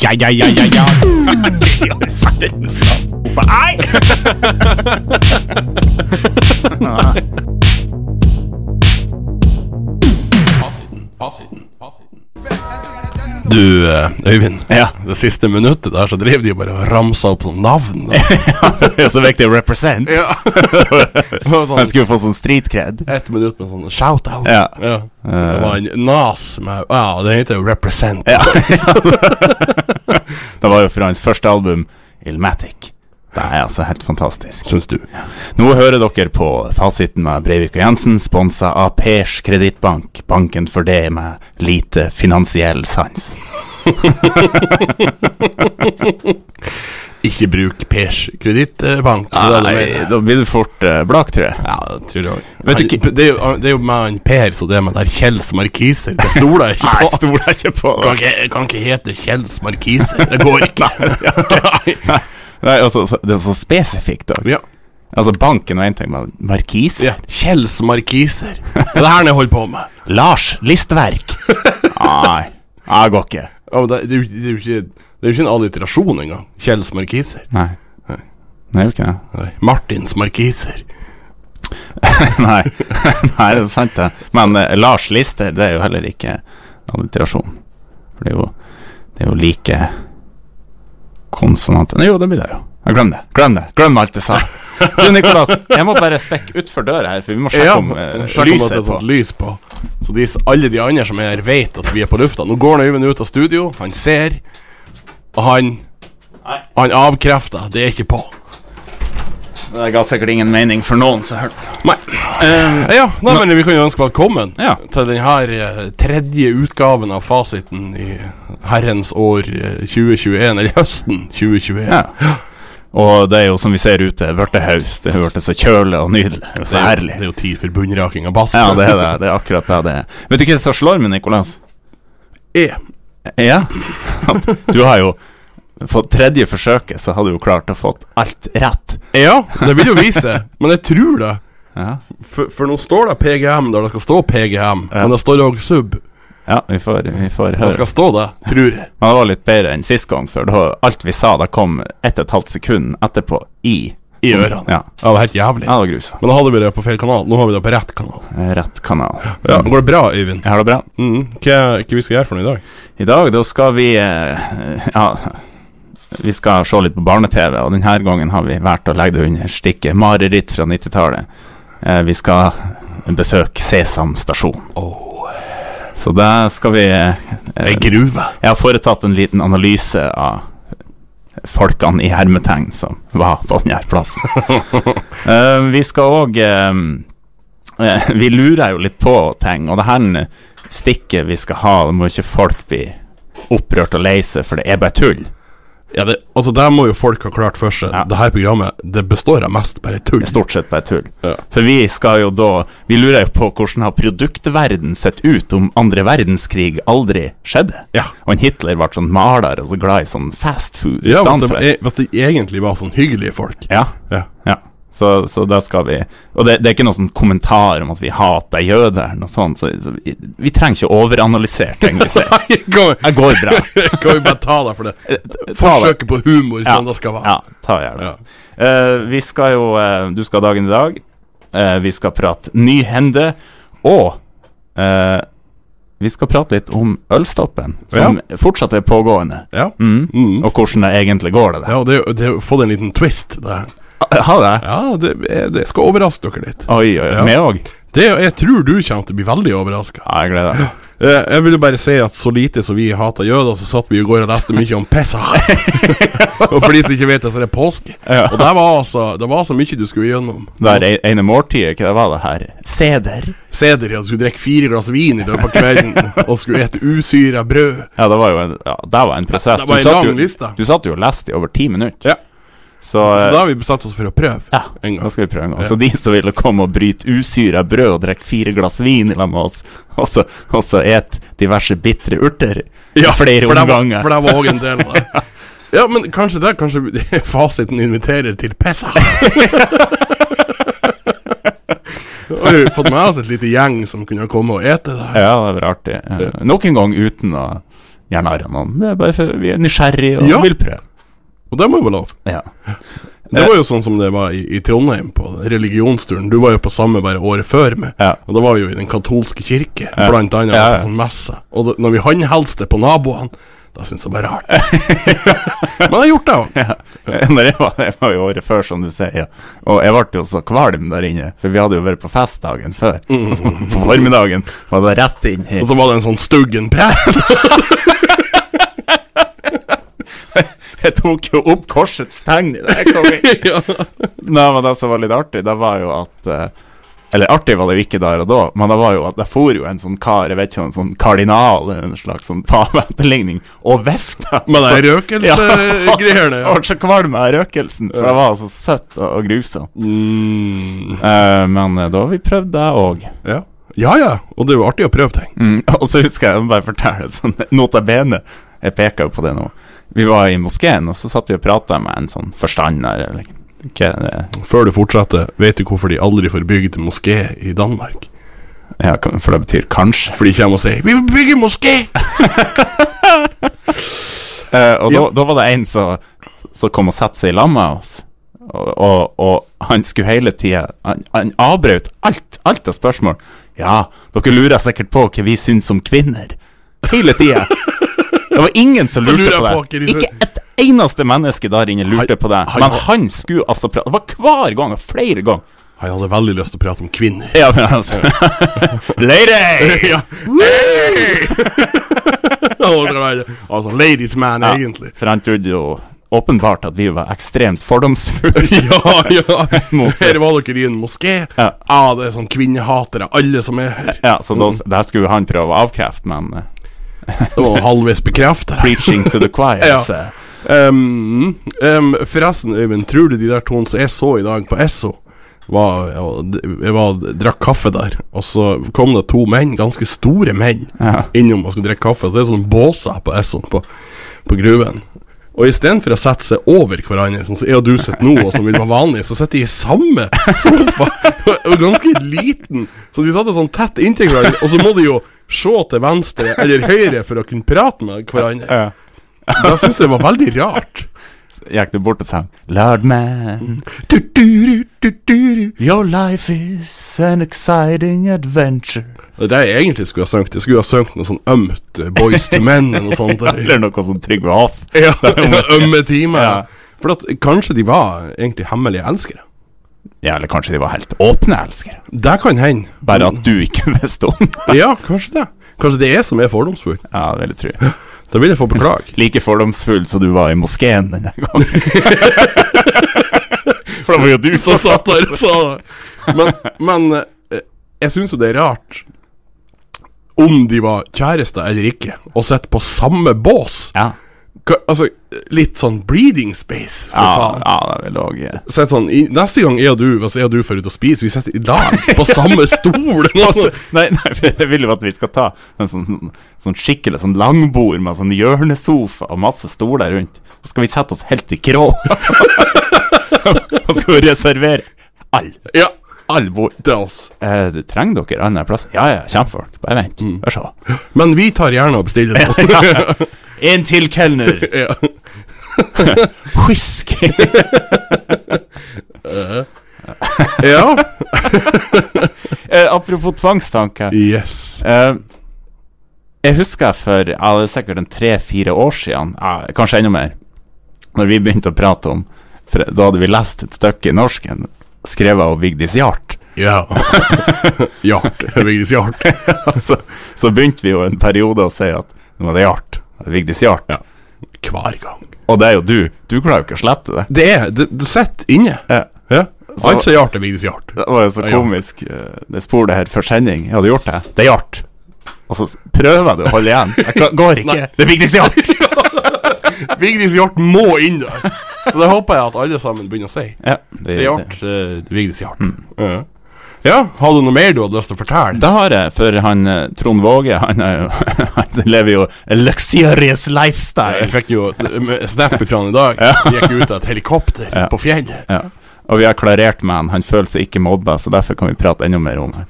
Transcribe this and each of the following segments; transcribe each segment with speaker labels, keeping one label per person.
Speaker 1: Ja, ja, ja, ja, ja. I all verdens land. Nei!
Speaker 2: Fasiten, fasiten, fasiten. Du, eh, Øyvind.
Speaker 1: Ja.
Speaker 2: Det siste minuttet der så driver de bare og ramser opp noen navn. Og,
Speaker 1: Det er så viktig å represent.
Speaker 2: ja. Og
Speaker 1: Man
Speaker 2: sånn,
Speaker 1: skulle få sånn street cred.
Speaker 2: ett minutt med sånn shout-out.
Speaker 1: Ja. Eh.
Speaker 2: Det var en Nas med Ja, det heter jo Represent.
Speaker 1: Ja. det var jo fra hans første album, Ilmatic. Det er altså helt fantastisk.
Speaker 2: Syns du?
Speaker 1: Nå hører dere på fasiten med Breivik og Jensen, sponsa av Pers Kredittbank, banken for det med lite finansiell sans.
Speaker 2: Ikke bruk Pers kredittbank.
Speaker 1: Nei, da blir du fort eh, blak, tror jeg.
Speaker 2: Ja, det tror jeg også.
Speaker 1: Vet du
Speaker 2: Han- det, er jo- det er jo med han Per så det er med der Kjells Markiser. Det stoler jeg ikke
Speaker 1: Nei,
Speaker 2: på.
Speaker 1: stoler jeg ikke på.
Speaker 2: Kan ikke, kan ikke hete Kjells Markiser. Det går ikke.
Speaker 1: Nei, Nei, altså, så- det er så spesifikt, da.
Speaker 2: ja.
Speaker 1: Altså, banken og én ting, men markis?
Speaker 2: ja. Kjells Markiser. Det er det her jeg holder på med.
Speaker 1: Lars Listverk! Nei, nei, det går ikke.
Speaker 2: Ja, men det, det, er jo- det, er jo ikke, det er jo ikke en alliterasjon engang. Kjells Markiser.
Speaker 1: Nei. Nei, det er jo ikke det.
Speaker 2: Nei. Martins Markiser.
Speaker 1: Nei, Nei det er sant det. Men eh, Lars Lister, det er jo heller ikke alliterasjon. For det er jo, det er jo like konsonant Nei, Jo, det blir det jo. Ja, Glem det. Glem det. Glem alt jeg sa. Du, Nikolas, jeg må bare stikke utfor døra her, for vi må sjekke om eh,
Speaker 2: sjekk om at
Speaker 1: lyset er
Speaker 2: det er
Speaker 1: på.
Speaker 2: sånt lys på. Så de, s- alle de andre som er her, vet at vi er på lufta. Nå går han Øyvind ut av studio, han ser, og han
Speaker 1: Nei.
Speaker 2: Han avkrefter. Det er ikke på.
Speaker 1: Det ga sikkert ingen mening for noen som hørte på.
Speaker 2: Nei. Eh, ja, nei, men vi kan jo ønske velkommen
Speaker 1: Ja.
Speaker 2: til denne tredje utgaven av fasiten i herrens år eh, 2021, eller høsten 2021.
Speaker 1: Ja. Og det er jo som vi ser ute, blitt høst. Det har blitt så kjølig og nydelig. Det er jo
Speaker 2: Det
Speaker 1: så
Speaker 2: er, jo-
Speaker 1: herlig.
Speaker 2: det er jo tid for bunnraking av bass.
Speaker 1: Ja, det er det. Det er akkurat det det er. Vet du hva som slår meg, Nikolas?
Speaker 2: Eh,
Speaker 1: Ja. Du har jo på tredje forsøket så har du jo klart å fått alt rett.
Speaker 2: Ja, det vil jo vise, men jeg tror det.
Speaker 1: Ja,
Speaker 2: For, for nå står det PGM der det skal stå PGM,
Speaker 1: Ja.
Speaker 2: men det står òg sub.
Speaker 1: vi, får, vi får
Speaker 2: Det
Speaker 1: høre.
Speaker 2: skal stå det, tror jeg.
Speaker 1: Men det var litt bedre enn sist gang, for da, alt vi sa, da kom ett og et halvt sekund etterpå i
Speaker 2: I ørene.
Speaker 1: Ja,
Speaker 2: Ja, det er helt jævlig.
Speaker 1: ja det var grusa.
Speaker 2: Men da hadde vi det på feil kanal. Nå har vi det på rett kanal.
Speaker 1: Rett kanal.
Speaker 2: Ja, Går det bra, Øyvind?
Speaker 1: Jeg har det bra.
Speaker 2: Mm. Hva, hva vi skal gjøre for noe i dag?
Speaker 1: I dag, da skal vi eh, Ja, vi skal se litt på barne-TV, og denne gangen har vi valgt å legge det under stikket 'Mareritt fra 90-tallet'. Eh, vi skal besøke Sesam stasjon. Så der skal vi eh,
Speaker 2: Ei gruve.
Speaker 1: Jeg har foretatt en liten analyse av folkene i hermetegn som var på denne plassen. Eh, vi skal òg Vi lurer jo litt på ting, og det her stikket vi skal ha, det må ikke folk bli opprørt og lei seg, for det er bare tull.
Speaker 2: Ja, det, altså, det må jo folk ha klart for seg.
Speaker 1: Ja.
Speaker 2: Det her programmet det består av mest bare tull.
Speaker 1: Det er stort sett bare tull.
Speaker 2: Ja.
Speaker 1: For vi skal jo da Vi lurer jo på hvordan har produktverden sett ut om andre verdenskrig aldri skjedde?
Speaker 2: Ja.
Speaker 1: Og en Hitler ble sånn maler og så glad i sånn fast food
Speaker 2: Ja,
Speaker 1: i
Speaker 2: hvis
Speaker 1: stedet
Speaker 2: det,
Speaker 1: for
Speaker 2: e- hvis det egentlig var sånn hyggelige folk.
Speaker 1: Ja,
Speaker 2: Ja.
Speaker 1: ja. Så, så der skal vi Og det, det er ikke noen sånn kommentar om at vi hater jøder, noe sånt, så, så vi, vi trenger ikke å overanalysere ting vi ser.
Speaker 2: Nei, kan vi,
Speaker 1: Det går bra.
Speaker 2: kan vi bare ta deg for det? Forsøket på humor som det Sånn skal være.
Speaker 1: Ja, ta gjerne det.
Speaker 2: Ja.
Speaker 1: Eh, vi skal jo eh, Du skal ha dagen i dag. Eh, vi skal prate nyhende. Og eh, vi skal prate litt om ølstoppen, som fortsatt er pågående.
Speaker 2: Ja. Mm.
Speaker 1: Og hvordan det egentlig går, det der.
Speaker 2: ja, og det er jo- det er jo fått en liten twist. Det. her.
Speaker 1: Ha det.
Speaker 2: Ja, det, jeg, det skal overraske dere litt.
Speaker 1: Oi, oi,
Speaker 2: Ja.
Speaker 1: oi. Meg òg.
Speaker 2: Det, jeg tror du kommer til å bli veldig overraska.
Speaker 1: Ja, jeg gleder meg.
Speaker 2: Eh, jeg vil jo bare si at så lite som vi hater jøder, så satt vi i går og leste mye om Pesach. og for de som ikke vet det, så er det påske.
Speaker 1: Ja.
Speaker 2: Og det var, altså, det var så mye du skulle gjennom.
Speaker 1: Det er e- ene måltidet, hva det var det her? Seder?
Speaker 2: Seder, ja, du skulle drikke fire glass vin i løpet av kvelden, og skulle ete usyra brød.
Speaker 1: Ja, det var jo en, ja, det var en prosess.
Speaker 2: Det
Speaker 1: Du
Speaker 2: var en
Speaker 1: satt
Speaker 2: lang
Speaker 1: jo,
Speaker 2: liste.
Speaker 1: du satt jo og leste i over ti minutter.
Speaker 2: Ja.
Speaker 1: Så,
Speaker 2: Så da har vi bestemt oss for å prøve.
Speaker 1: eh, ja,
Speaker 2: en gang.
Speaker 1: da skal vi prøve en gang. Så de som ville komme og bryte usyra brød og drikke fire glass vin i lag med oss, og så- og så et diverse bitre urter i flere
Speaker 2: for det var-
Speaker 1: omganger
Speaker 2: For det var òg en del av det. Ja, men kanskje det Kanskje vi- fasiten inviterer til Pesach. Da har vi fått med oss et lite gjeng som kunne komme og ete der.
Speaker 1: Eh, Ja, det var artig. Ja. Nok en gang uten å gjerne arre noen. Det er bare for vi er nysgjerrig og
Speaker 2: Ja.
Speaker 1: vil prøve.
Speaker 2: Og det må jo være lov.
Speaker 1: Ja. Eh.
Speaker 2: Det var jo sånn som det var i, i Trondheim, på religionsturen. Du var jo på samme bare året før med.
Speaker 1: Ja.
Speaker 2: Og da var vi jo i den katolske kirke, blant annet
Speaker 1: Ja, ja.
Speaker 2: på sånn messe. Og da, når vi håndhelste på naboene, da syntes jeg det var rart. Men jeg har gjort det òg.
Speaker 1: Ja. Når jeg var, jeg var jo året før, som du sier. Ja. Og jeg ble jo så kvalm der inne, for vi hadde jo vært på fest dagen før. Og så på formiddagen var det rett inn i
Speaker 2: Og så var det en sånn stuggen prest.
Speaker 1: Jeg tok jo opp korsets tegn i det. Jeg kom inn.
Speaker 2: ja.
Speaker 1: Nei, men det som var litt artig, det var jo at eh, Eller artig var det jo ikke der og da, men det var jo at det for jo en sånn kar, jeg vet ikke, en sånn kardinal eller en slags sånn paveetterligning, og vifta.
Speaker 2: Med de
Speaker 1: Ja.
Speaker 2: røkelsegreiene.
Speaker 1: Jeg ble så kvalm av røkelsen, for det var så søtt og, og grusomt.
Speaker 2: Mm,
Speaker 1: Eh, men eh, da har vi prøvd det òg.
Speaker 2: ja. ja ja, og det er jo artig å prøve ting.
Speaker 1: Mm, og så husker jeg, jeg må bare fortelle et sånn nota bene. Jeg peker jo på det nå. Vi var i moskeen, og så satt vi og prata med en sånn forstander, eller hva det er.
Speaker 2: Før du fortsetter, vet du hvorfor de aldri får bygd moské i Danmark?
Speaker 1: Ja, kan- for det betyr kanskje.
Speaker 2: For de kommer og sier 'Vi vil bygge moské!'
Speaker 1: Eh, og da,
Speaker 2: Ja.
Speaker 1: da var det en som som kom og satte seg i lag med oss. Og, og, og han skulle hele tida Han, han avbrøt alt, alt av spørsmål. Ja, dere lurer sikkert på hva vi syns om kvinner. Hele tida. Det var ingen som
Speaker 2: Så
Speaker 1: lurte
Speaker 2: lurer
Speaker 1: på
Speaker 2: jeg på hva
Speaker 1: det.
Speaker 2: de syns-
Speaker 1: Ikke et eneste menneske der inne lurte
Speaker 2: Han-
Speaker 1: på det.
Speaker 2: han
Speaker 1: Men
Speaker 2: var-
Speaker 1: han skulle altså prate Det var hver gang, og flere ganger.
Speaker 2: Jeg hadde veldig lyst til å prate om kvinner.
Speaker 1: Ja, men altså Lady!
Speaker 2: ja. Hey! altså ladies man,
Speaker 1: Ja,
Speaker 2: egentlig.
Speaker 1: For han trodde jo åpenbart at vi var ekstremt fordomsfulle.
Speaker 2: Ja, ja.
Speaker 1: Mot-
Speaker 2: Her var dere i en moské. Ja,
Speaker 1: Ja.
Speaker 2: ah, det er sånn kvinnehatere, alle som er her.
Speaker 1: Ja, så da, det her skulle jo han prøve å avkrefte, men eh,
Speaker 2: Det var halvveis bekreftet.
Speaker 1: preaching to the choir.
Speaker 2: Ja.
Speaker 1: så, eh,
Speaker 2: Um, um, forresten, Øyvind, tror du de der to som jeg så i dag på Esso var, ja, d- Jeg var, drakk kaffe der, og så kom det to menn, ganske store menn,
Speaker 1: Ja.
Speaker 2: innom og skulle drikke kaffe. Så det er sånne båser på Esso, på, på Gruven. Og istedenfor å sette seg over hverandre, sånn som jeg og du sitter nå, og som vil være vanlig, så sitter de i samme sofa, og og ganske liten. Så de satt sånn tett inntil hverandre, og så må de jo se til venstre eller høyre for å kunne prate med hverandre.
Speaker 1: eh,
Speaker 2: Det syns jeg var veldig rart.
Speaker 1: Gikk du bort og sang Lord man,
Speaker 2: Det
Speaker 1: your life is an exciting adventure.
Speaker 2: er det jeg egentlig skulle ha sunget. Jeg skulle ha sunget noe sånn ømt eh, Boys to Men eller noe sånt. Eller,
Speaker 1: Eller noe som Trygve Hoff.
Speaker 2: ja, ømme timer.
Speaker 1: Ja.
Speaker 2: For at, kanskje de var egentlig hemmelige elskere.
Speaker 1: Ja, eller kanskje de var helt åpne elskere.
Speaker 2: Det kan hende.
Speaker 1: Bare at du ikke visste om det.
Speaker 2: Ja, kanskje det. Kanskje det er jeg som er fordomsfull.
Speaker 1: Ja, det vil jeg tro.
Speaker 2: Da vil jeg få beklage.
Speaker 1: Like fordomsfull som du var i moskeen denne gangen. For det var jo du som
Speaker 2: Så
Speaker 1: sa
Speaker 2: satt der og sa det. Men, men eh, jeg syns jo det er rart om de var kjærester eller ikke, og sitter på samme bås.
Speaker 1: Ja,
Speaker 2: Ka- Altså, litt sånn breeding space, for
Speaker 1: ja,
Speaker 2: faen.
Speaker 1: ja det eh, vil òg
Speaker 2: Så er det sånn, i, neste gang jeg og du altså jeg og du får ut og spise, vi sitter i lag på samme stol.
Speaker 1: Altså, nei, nei, for jeg vil jo at vi skal ta en sånn, sånn skikkelig sånn langbord med sånn hjørnesofa og masse stoler rundt. Så skal vi sette oss helt i krå. og skal vi reservere all,
Speaker 2: ja,
Speaker 1: all bord.
Speaker 2: til oss.
Speaker 1: Eh, det- trenger dere annen plass? Ja, ja, kjempefolk. Bare vent. Vær så.
Speaker 2: Men vi tar gjerne og bestiller noe.
Speaker 1: En til kelner.
Speaker 2: ja.
Speaker 1: Whisky.
Speaker 2: ja.
Speaker 1: eh, apropos tvangstanker.
Speaker 2: Yes.
Speaker 1: Eh, jeg husker for ja, det er sikkert en tre-fire år siden, ja, kanskje enda mer, når vi begynte å prate om for Da hadde vi lest et stykke i norsken skrevet av Vigdis Hjart.
Speaker 2: Ja. Hjart. Vigdis Hjart.
Speaker 1: så, så begynte vi jo en periode å si at nå er det Hjart. det er Vigdis Hjart.
Speaker 2: Ja. Hver gang.
Speaker 1: Og det er jo du. Du klarer jo ikke å slette det.
Speaker 2: Det er Det, det sitter inne.
Speaker 1: Ja.
Speaker 2: Ja.
Speaker 1: Så-
Speaker 2: Alt som er Hjart, er Vigdis Hjart.
Speaker 1: Det var jo så
Speaker 2: Ja.
Speaker 1: komisk. eh, Det spor det her for sending. Jeg hadde gjort det. Det er Hjart. Og så s- prøver jeg å holde igjen. Det ga- går ikke.
Speaker 2: Nei.
Speaker 1: Det er Vigdis Hjart.
Speaker 2: Vigdis Hjart må inn der. Så det håper jeg at alle sammen begynner å si.
Speaker 1: Ja, Hmm. det,
Speaker 2: Det er
Speaker 1: det,
Speaker 2: Hjart. eh, Vigdis Hjart. Ja. Ja, har du noe mer du hadde lyst til å fortelle?
Speaker 1: Det har jeg, for han eh, Trond Våge han, er jo, han lever jo a luxurious lifestyle.
Speaker 2: Jeg fikk jo d- snap ifra han i dag. Gikk ut av et helikopter på fjellet.
Speaker 1: Ja. Og vi har klarert med han, han føler seg ikke mobba, så derfor kan vi prate enda mer om det.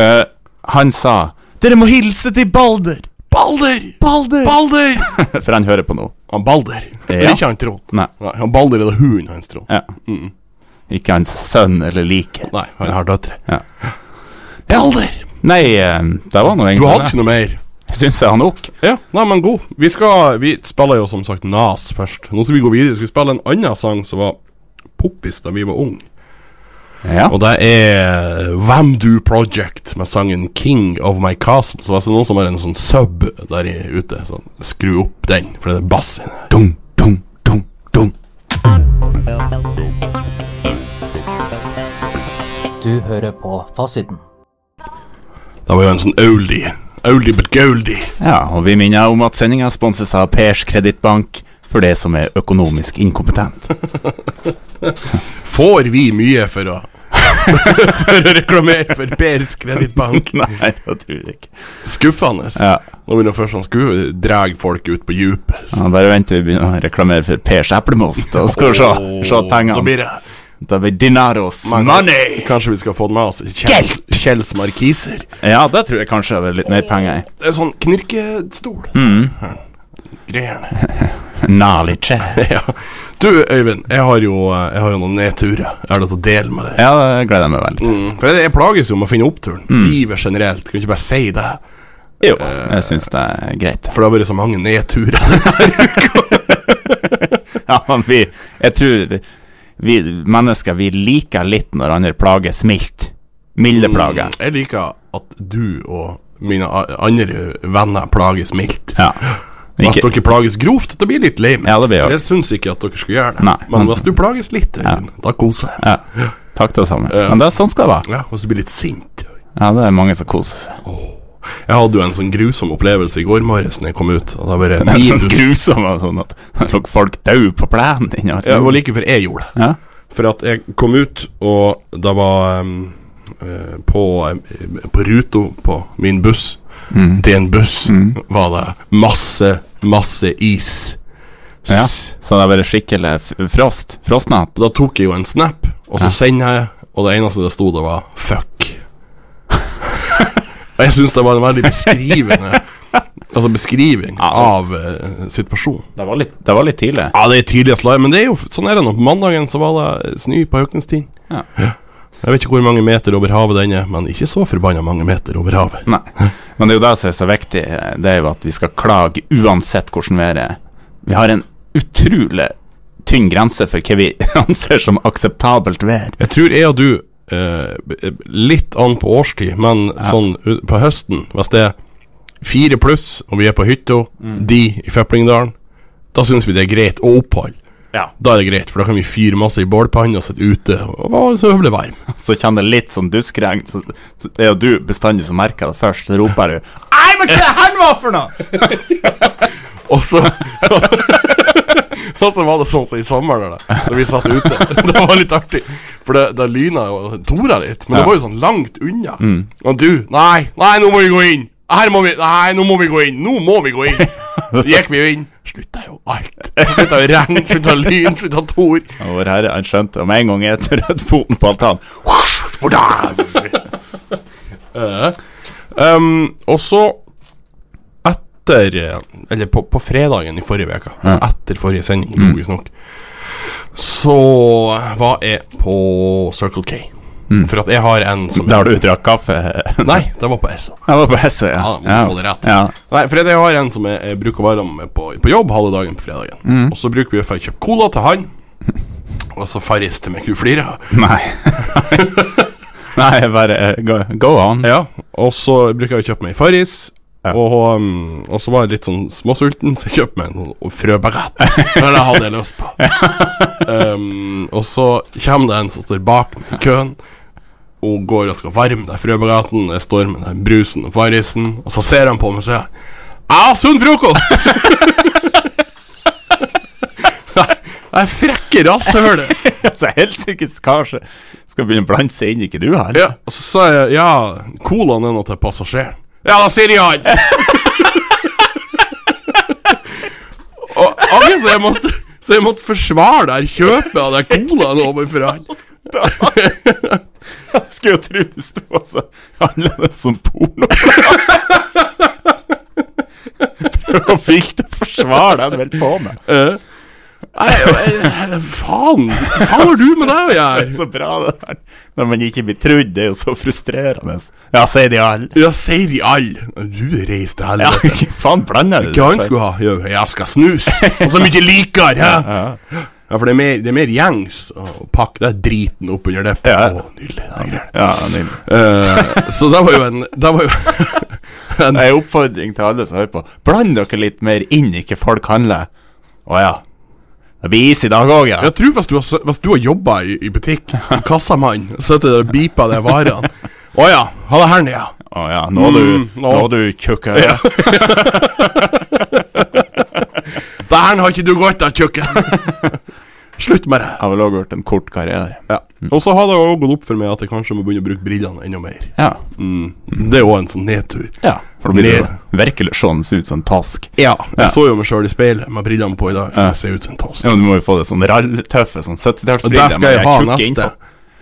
Speaker 1: Eh, han sa 'Dere må hilse til Balder'. Balder!
Speaker 2: Balder!
Speaker 1: Balder!
Speaker 2: Balder!
Speaker 1: For han hører på nå.
Speaker 2: Han Balder. Det
Speaker 1: Ja.
Speaker 2: er ikke han Trond.
Speaker 1: Nei.
Speaker 2: Nei, han Balder er da hunden hans, Trond.
Speaker 1: Ja.
Speaker 2: Mm.
Speaker 1: Ikke hans sønn eller like.
Speaker 2: Nei, han har døtre.
Speaker 1: Ja.
Speaker 2: Balder!
Speaker 1: Nei, eh, det var nå
Speaker 2: Du hadde
Speaker 1: egentlig
Speaker 2: ikke noe mer?
Speaker 1: det. Syns jeg har nok.
Speaker 2: Ja, nei, men god. Vi, skal, vi spiller jo som sagt Nas først. Nå skal vi gå videre. Vi skal spille en annen sang som var poppis da vi var unge.
Speaker 1: Ja.
Speaker 2: Og det er Vamdoo Project med sangen 'King of My Castle'. Så det er noen som har en sånn sub der i- ute. Sånn, skru opp den, for det er bass i den.
Speaker 1: Dum, dum, dum, dum.
Speaker 3: Du hører på Fasiten.
Speaker 2: Det var jo en sånn oldie. Oldie but goldie.
Speaker 1: Ja, og vi minner om at sendinga sponses av Pers kredittbank for det som er økonomisk inkompetent.
Speaker 2: Får vi mye for å for å reklamere for Pers kredittbank.
Speaker 1: Nei, det tror jeg ikke.
Speaker 2: Skuffende.
Speaker 1: Ja,
Speaker 2: Nå begynner først han skulle dra sånn folk ut på djupet. så-
Speaker 1: ja, Bare vent til vi begynner å reklamere for Pers eplemost, da skal du se, se
Speaker 2: Da
Speaker 1: pengene.
Speaker 2: blir det
Speaker 1: Da blir dinaros money!
Speaker 2: Kanskje vi skal få den med oss. Kjells, Kjells markiser.
Speaker 1: Ja, det tror jeg kanskje det er litt mer penger i.
Speaker 2: Det er sånn knirkestol. Mm. Greiene.
Speaker 1: Knowledge.
Speaker 2: ja. Du, Øyvind, jeg har jo, eh, jeg har jo noen nedturer. Jeg har lyst til å dele med deg.
Speaker 1: Ja, det gleder jeg meg veldig til.
Speaker 2: Mm, for jeg, jeg plages jo med å finne oppturen. Livet generelt. Kan ikke bare si det.
Speaker 1: Jo, jeg syns det er greit.
Speaker 2: For det har vært så mange nedturer.
Speaker 1: Ja, men vi Jeg tror vi mennesker vi liker litt når andre plages mildt.
Speaker 2: Mm.
Speaker 1: Milde plager.
Speaker 2: Jeg liker at du og mine a- andre venner plages mildt.
Speaker 1: Ja.
Speaker 2: Hvis
Speaker 1: Ikke,
Speaker 2: dere plages grovt, da blir jeg litt lei meg.
Speaker 1: Ja, det blir jeg.
Speaker 2: jeg syns ikke at dere skal gjøre det.
Speaker 1: Nei,
Speaker 2: men
Speaker 1: men-
Speaker 2: hvis du plages litt, Øyvind, da koser jeg meg.
Speaker 1: ja. Takk, det samme. Men det er sånn skal det være.
Speaker 2: Ja, hvis du blir litt sint.
Speaker 1: Ja, det er mange som koser seg.
Speaker 2: Jeg hadde jo en sånn grusom opplevelse i går morges når jeg kom ut. Og det var bare
Speaker 1: Det er sånn
Speaker 2: minus
Speaker 1: grusomt og sånn at det lå folk døde på plenen din. og-
Speaker 2: Ja, Det var like før jeg gjorde det.
Speaker 1: Ja.
Speaker 2: For at jeg kom ut, og det var em, eh, på, um, på ruta på min buss,
Speaker 1: Mm.
Speaker 2: til en buss, var det masse, masse is.
Speaker 1: ja.
Speaker 2: S-
Speaker 1: Så det er bare skikkelig f- frost. Frostnatt.
Speaker 2: Da tok jeg jo en snap, og så sender jeg, og det eneste det sto, det var 'fuck'. Og jeg syns det var en veldig beskrivende Altså beskriving av eh, situasjonen.
Speaker 1: Det var litt, Ah. det var litt tidlig.
Speaker 2: Ja, det er tidlig å slå, men det er jo sånn er det nå. På mandagen så var det eh, snø på Høknestind.
Speaker 1: Ja.
Speaker 2: Jeg vet ikke hvor mange meter over havet den er, men ikke så forbanna mange meter over havet.
Speaker 1: Nei. Men det er jo det som er så viktig, det er jo at vi skal klage uansett hvordan været er. Vi har en utrolig tynn grense for hva vi anser som akseptabelt vær.
Speaker 2: Jeg tror jeg og du eh, b- eh, Litt an på årstid, men sånn u- på høsten, hvis det er fire pluss, og vi er på hytta, de i Feplingdalen, da syns vi det er greit å oppholde.
Speaker 1: Ja.
Speaker 2: Da er det greit, for da kan vi fyre masse i bålpanne og sitte ute og være så høvelig varm.
Speaker 1: Så kjenner jeg litt sånn duskregn, så så det er jo du bestandig som merker det først, så roper du Nei, men hva det her var for noe?!
Speaker 2: Og så Og så var det sånn som i sommeren, da da vi satt ute. Det var litt artig, for det, det lyna jo tora litt. Men det var jo sånn langt unna. Og du Nei, nei, nå må vi gå inn! Her må vi Nei, nå må vi gå inn! Nå må vi gå inn! Så gikk vi jo inn. Slutta jo alt. Slutta jo regn, slutta lyn, slutta tor.
Speaker 1: Og vår herre, han skjønte om en gang jeg trødde foten på altanen
Speaker 2: Um, og så etter Eller på, på fredagen i forrige uke, altså etter forrige sending,
Speaker 1: Mm.
Speaker 2: logisk nok, så var jeg på Circle K. For at jeg har en som
Speaker 1: Mm. Da har du drakk kaffe?
Speaker 2: Nei, det var på SO.
Speaker 1: Jeg var på Hessøy, ja.
Speaker 2: Ja, må få det rett.
Speaker 1: Ja.
Speaker 2: Nei, for jeg har en som jeg, jeg bruker å være med på, på jobb halve dagen på fredagen.
Speaker 1: Mm.
Speaker 2: Og så bruker vi å få kjøpt cola til han, og så Farris til meg. Hun flirer.
Speaker 1: Nei. Nei, jeg bare eh, go, go on.
Speaker 2: Ja, og så bruker jeg å kjøpe meg Farris.
Speaker 1: Ja.
Speaker 2: Og, um, og så var jeg litt sånn småsulten, så jeg kjøpte meg en sånn frøbarett. For det hadde jeg lyst på. Um, og så kommer det en som står bak meg i køen, og går og skal varme deg frøbaretten. Jeg står med den brusen og Farrisen, og så ser han på meg og sier Ja, sunn frokost! Det er frekke rasshølet.
Speaker 1: Så helsikes kar som skal begynne å blande seg inn, ikke du her?
Speaker 2: Ja, og så sa jeg ja, colaen er noe til passasjeren. Ja, da sier de alt! og ok, så jeg måtte Så jeg måtte forsvare det her kjøpet av den colaen overfor han.
Speaker 1: Skulle jo tro sånn det sto så annerledes som porno. og fikk det forsvar den vel på med.
Speaker 2: Eh, Nei, jeg- jeg- faen! Hva faen har du med deg å
Speaker 1: Det er
Speaker 2: gjøre?
Speaker 1: så bra, det der. Når man ikke blir trudd, det er jo så frustrerende. Ja, sier de alle.
Speaker 2: Ja, sier de alle. Du reiser til
Speaker 1: Ja,
Speaker 2: helvete.
Speaker 1: hva faen blander du
Speaker 2: Hva han skulle ha? Jo, jeg skal snus! Og så mye likere! hæ?
Speaker 1: Ja.
Speaker 2: Ja, for det er mer, det er mer gjengs å pakke den driten opp under det.
Speaker 1: Ja.
Speaker 2: Å, nydelig. Det er greit.
Speaker 1: Ja, nydelig.
Speaker 2: Eh, så det var jo en Det var jo en
Speaker 1: Det er en oppfordring til alle som hører på. Bland dere litt mer inn i hva folk handler. Å ja. Det blir is i dag òg, ja.
Speaker 2: Jeg tror hvis du har, s- hvis du har jobba i, i butikk, kassamann, sitter der og beeper de varene Å ja, ha det her nede, ja.
Speaker 1: Å ja, nå du,
Speaker 2: Mm, nå.
Speaker 1: nå du tjukk øre.
Speaker 2: Det her har ikke du godt av, tjukken. Slutt med det.
Speaker 1: Jeg har vel òg gjort en kort karriere.
Speaker 2: Ja. Og så har det jo gått opp for meg at jeg kanskje må begynne å bruke brillene enda mer.
Speaker 1: Ja.
Speaker 2: Mm. Det er jo en sånn nedtur.
Speaker 1: ja. For da blir det
Speaker 2: Ned.
Speaker 1: jo virkelig sånn ut som en task.
Speaker 2: Ja. Jeg
Speaker 1: Ja.
Speaker 2: så jo meg sjøl i speilet med brillene på i dag.
Speaker 1: Ja.
Speaker 2: Jeg ser ut som en toss.
Speaker 1: Ja, men Du må jo få det sånn ralltøffe sånn
Speaker 2: Og
Speaker 1: 70-tallsbriller.
Speaker 2: der skal
Speaker 1: med
Speaker 2: jeg ha
Speaker 1: tjukke
Speaker 2: neste.
Speaker 1: innpå.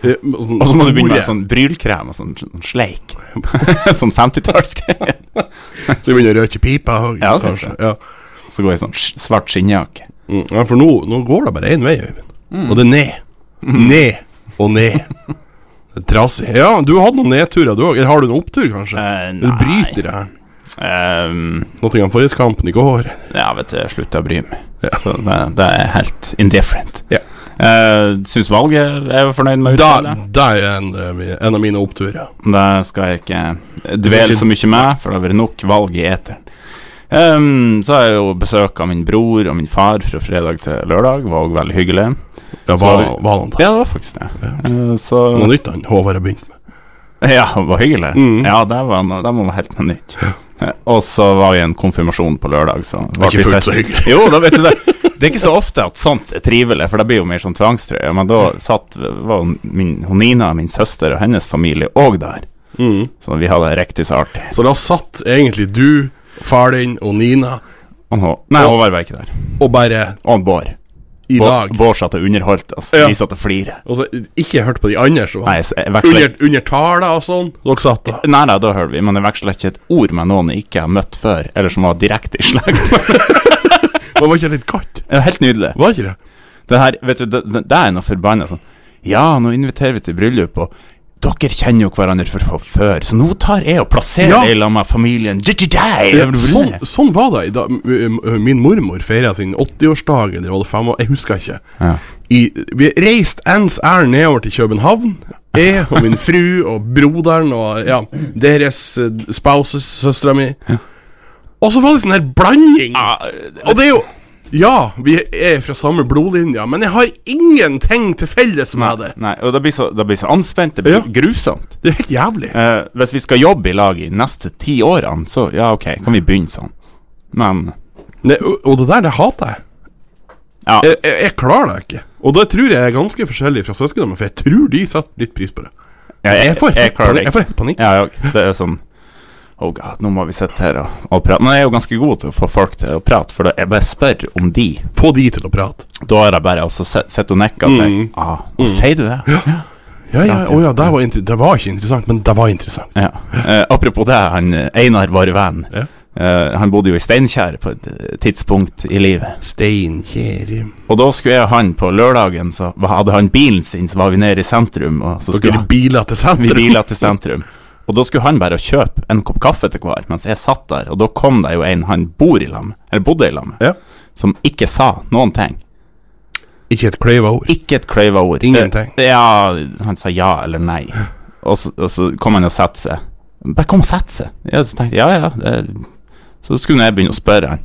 Speaker 2: Eh, sånn-
Speaker 1: Og så må du begynne med
Speaker 2: store.
Speaker 1: sånn brylkrem og sånn, sånn sleik. sånn 50-tallsgreie.
Speaker 2: Så jeg begynner å røyke pipa. og-
Speaker 1: Ja, det synes
Speaker 2: kanskje.
Speaker 1: jeg.
Speaker 2: Ja.
Speaker 1: Så går jeg i sånn sk- svart skinnjakke.
Speaker 2: Mm, ja, for nå, nå går det bare én vei, Øyvind.
Speaker 1: Mm.
Speaker 2: Og det er ned. Ned og ned. Det er trasig. Ja, du har hatt noen nedturer, du òg. Eller har du en opptur, kanskje?
Speaker 1: Eh,
Speaker 2: du bryter det her.
Speaker 1: Ehm,
Speaker 2: Nottingham Forest-kampen i går.
Speaker 1: ja, vet du, jeg slutta å bry meg.
Speaker 2: Ja.
Speaker 1: Så det, det er helt indifferent.
Speaker 2: Ja.
Speaker 1: Eh, Syns valget er jeg fornøyd med
Speaker 2: Da,
Speaker 1: utfallet.
Speaker 2: da er en, eh, mi- en av mine oppturer.
Speaker 1: Det skal jeg ikke dvele så mye med, for det har vært nok valg i eteren. Ehm, så har jeg jo besøk av min bror og min far fra fredag til lørdag. Var òg veldig hyggelig.
Speaker 2: Ja,
Speaker 1: Så-
Speaker 2: hva var det?
Speaker 1: Ja, det var faktisk det. Eh, så
Speaker 2: Noe nytt han Håvard har begynt med.
Speaker 1: Ja, det var hyggelig.
Speaker 2: Mm.
Speaker 1: Ja, det var noe, det var helt noe nytt. Eh, Og så var vi i en konfirmasjon på lørdag, så var
Speaker 2: Ikke
Speaker 1: vi
Speaker 2: fullt
Speaker 1: sett-
Speaker 2: så hyggelig.
Speaker 1: Jo, da vet du det. Det er ikke så ofte at sånt er trivelig, for det blir jo mer sånn tvangstrøye. Men da satt var min, hun Nina, min søster og hennes familie òg der,
Speaker 2: Mm.
Speaker 1: så vi hadde det riktig så artig.
Speaker 2: Så da satt egentlig du, far din og Nina
Speaker 1: Og Hå- Nei, Håvard var ikke der.
Speaker 2: og bare
Speaker 1: Og Bård.
Speaker 2: i
Speaker 1: Bård,
Speaker 2: lag.
Speaker 1: Bård satt og underholdt oss.
Speaker 2: Ja.
Speaker 1: Vi satt og flirte.
Speaker 2: Og så ikke hørt på de andre. Så.
Speaker 1: Nei, så jeg
Speaker 2: Under,
Speaker 1: veksler
Speaker 2: under tala og sånn. Dere satt da.
Speaker 1: Nei, nei, da hører vi, men jeg veksler ikke et ord med noen jeg ikke har møtt før, eller som var direkte i slekt.
Speaker 2: Det var ikke litt kaldt?
Speaker 1: Det er Helt nydelig.
Speaker 2: Var ikke det?
Speaker 1: Det her, vet du, det, det det er noe forbanna sånn Ja, nå inviterer vi til bryllup, og dere kjenner jo hverandre fra fra før, så nå tar jeg og plasserer
Speaker 2: Ja.
Speaker 1: deg sammen med familien Jijijai.
Speaker 2: Ja, sånn, sånn var det i dag. M- m- m- Min mormor feira sin 80-årsdag, eller var det fem år, jeg husker ikke.
Speaker 1: Ja.
Speaker 2: I, vi reiste ens ærend nedover til København. Jeg og min fru og broderen og ja, deres eh, spouses, søstera mi. Og så var det sånn her blanding. Og det er jo Ja, vi er fra samme blodlinja, men jeg har ingenting til felles med det.
Speaker 1: Nei, og det blir så, det blir så anspent, det blir
Speaker 2: Ja.
Speaker 1: så grusomt.
Speaker 2: Det er helt jævlig.
Speaker 1: Eh, hvis vi skal jobbe i lag i neste ti årene, så ja, ok, kan vi begynne sånn. Men
Speaker 2: Nei, og- og det der, det hater jeg.
Speaker 1: ja,
Speaker 2: Jeg, jeg, jeg klarer det ikke. Og det tror jeg er ganske forskjellig fra søsknene mine, for jeg tror de setter litt pris på det. Altså, jeg, får helt
Speaker 1: klarer
Speaker 2: panikk.
Speaker 1: det
Speaker 2: jeg
Speaker 1: ikke.
Speaker 2: får helt panikk.
Speaker 1: Ja, jeg òg. Det er sånn Oh god, nå må vi sitte her og, og prate. Men jeg er jo ganske god til å få folk til å prate, for det- jeg bare spør om de.
Speaker 2: Få de til å prate.
Speaker 1: Da er det bare altså sitter og nikker og sier
Speaker 2: Mm.
Speaker 1: ah, og Sier du det? Ja.
Speaker 2: Ja, ja, å ja, det var, inter det var ikke interessant, men det var interessant.
Speaker 1: Eh, apropos det, han eh, Einar, vår venn.
Speaker 2: Ja.
Speaker 1: Eh, han bodde jo i Steinkjer på et eh, tidspunkt i livet.
Speaker 2: Steinkjer
Speaker 1: Og da skulle jeg og han på lørdagen, så hva- hadde han bilen sin, så var vi nede i sentrum, og så
Speaker 2: Dere
Speaker 1: skulle
Speaker 2: biler til
Speaker 1: vi
Speaker 2: sentrum?
Speaker 1: bila til sentrum. Og da skulle han bare kjøpe en kopp kaffe til hver, mens jeg satt der, og da kom det jo en han bor i lag med, eller bodde i lag med,
Speaker 2: Ja.
Speaker 1: som ikke sa noen ting.
Speaker 2: Ikke et kløyva ord.
Speaker 1: Ikke et kløyva ord.
Speaker 2: Ingenting.
Speaker 1: Eh, Ja, han sa ja eller nei. Og så, og så kom han og satte seg. Bare kom og sett seg. Ja, så tenkte jeg ja, ja. Det. Så skulle jeg begynne å spørre han.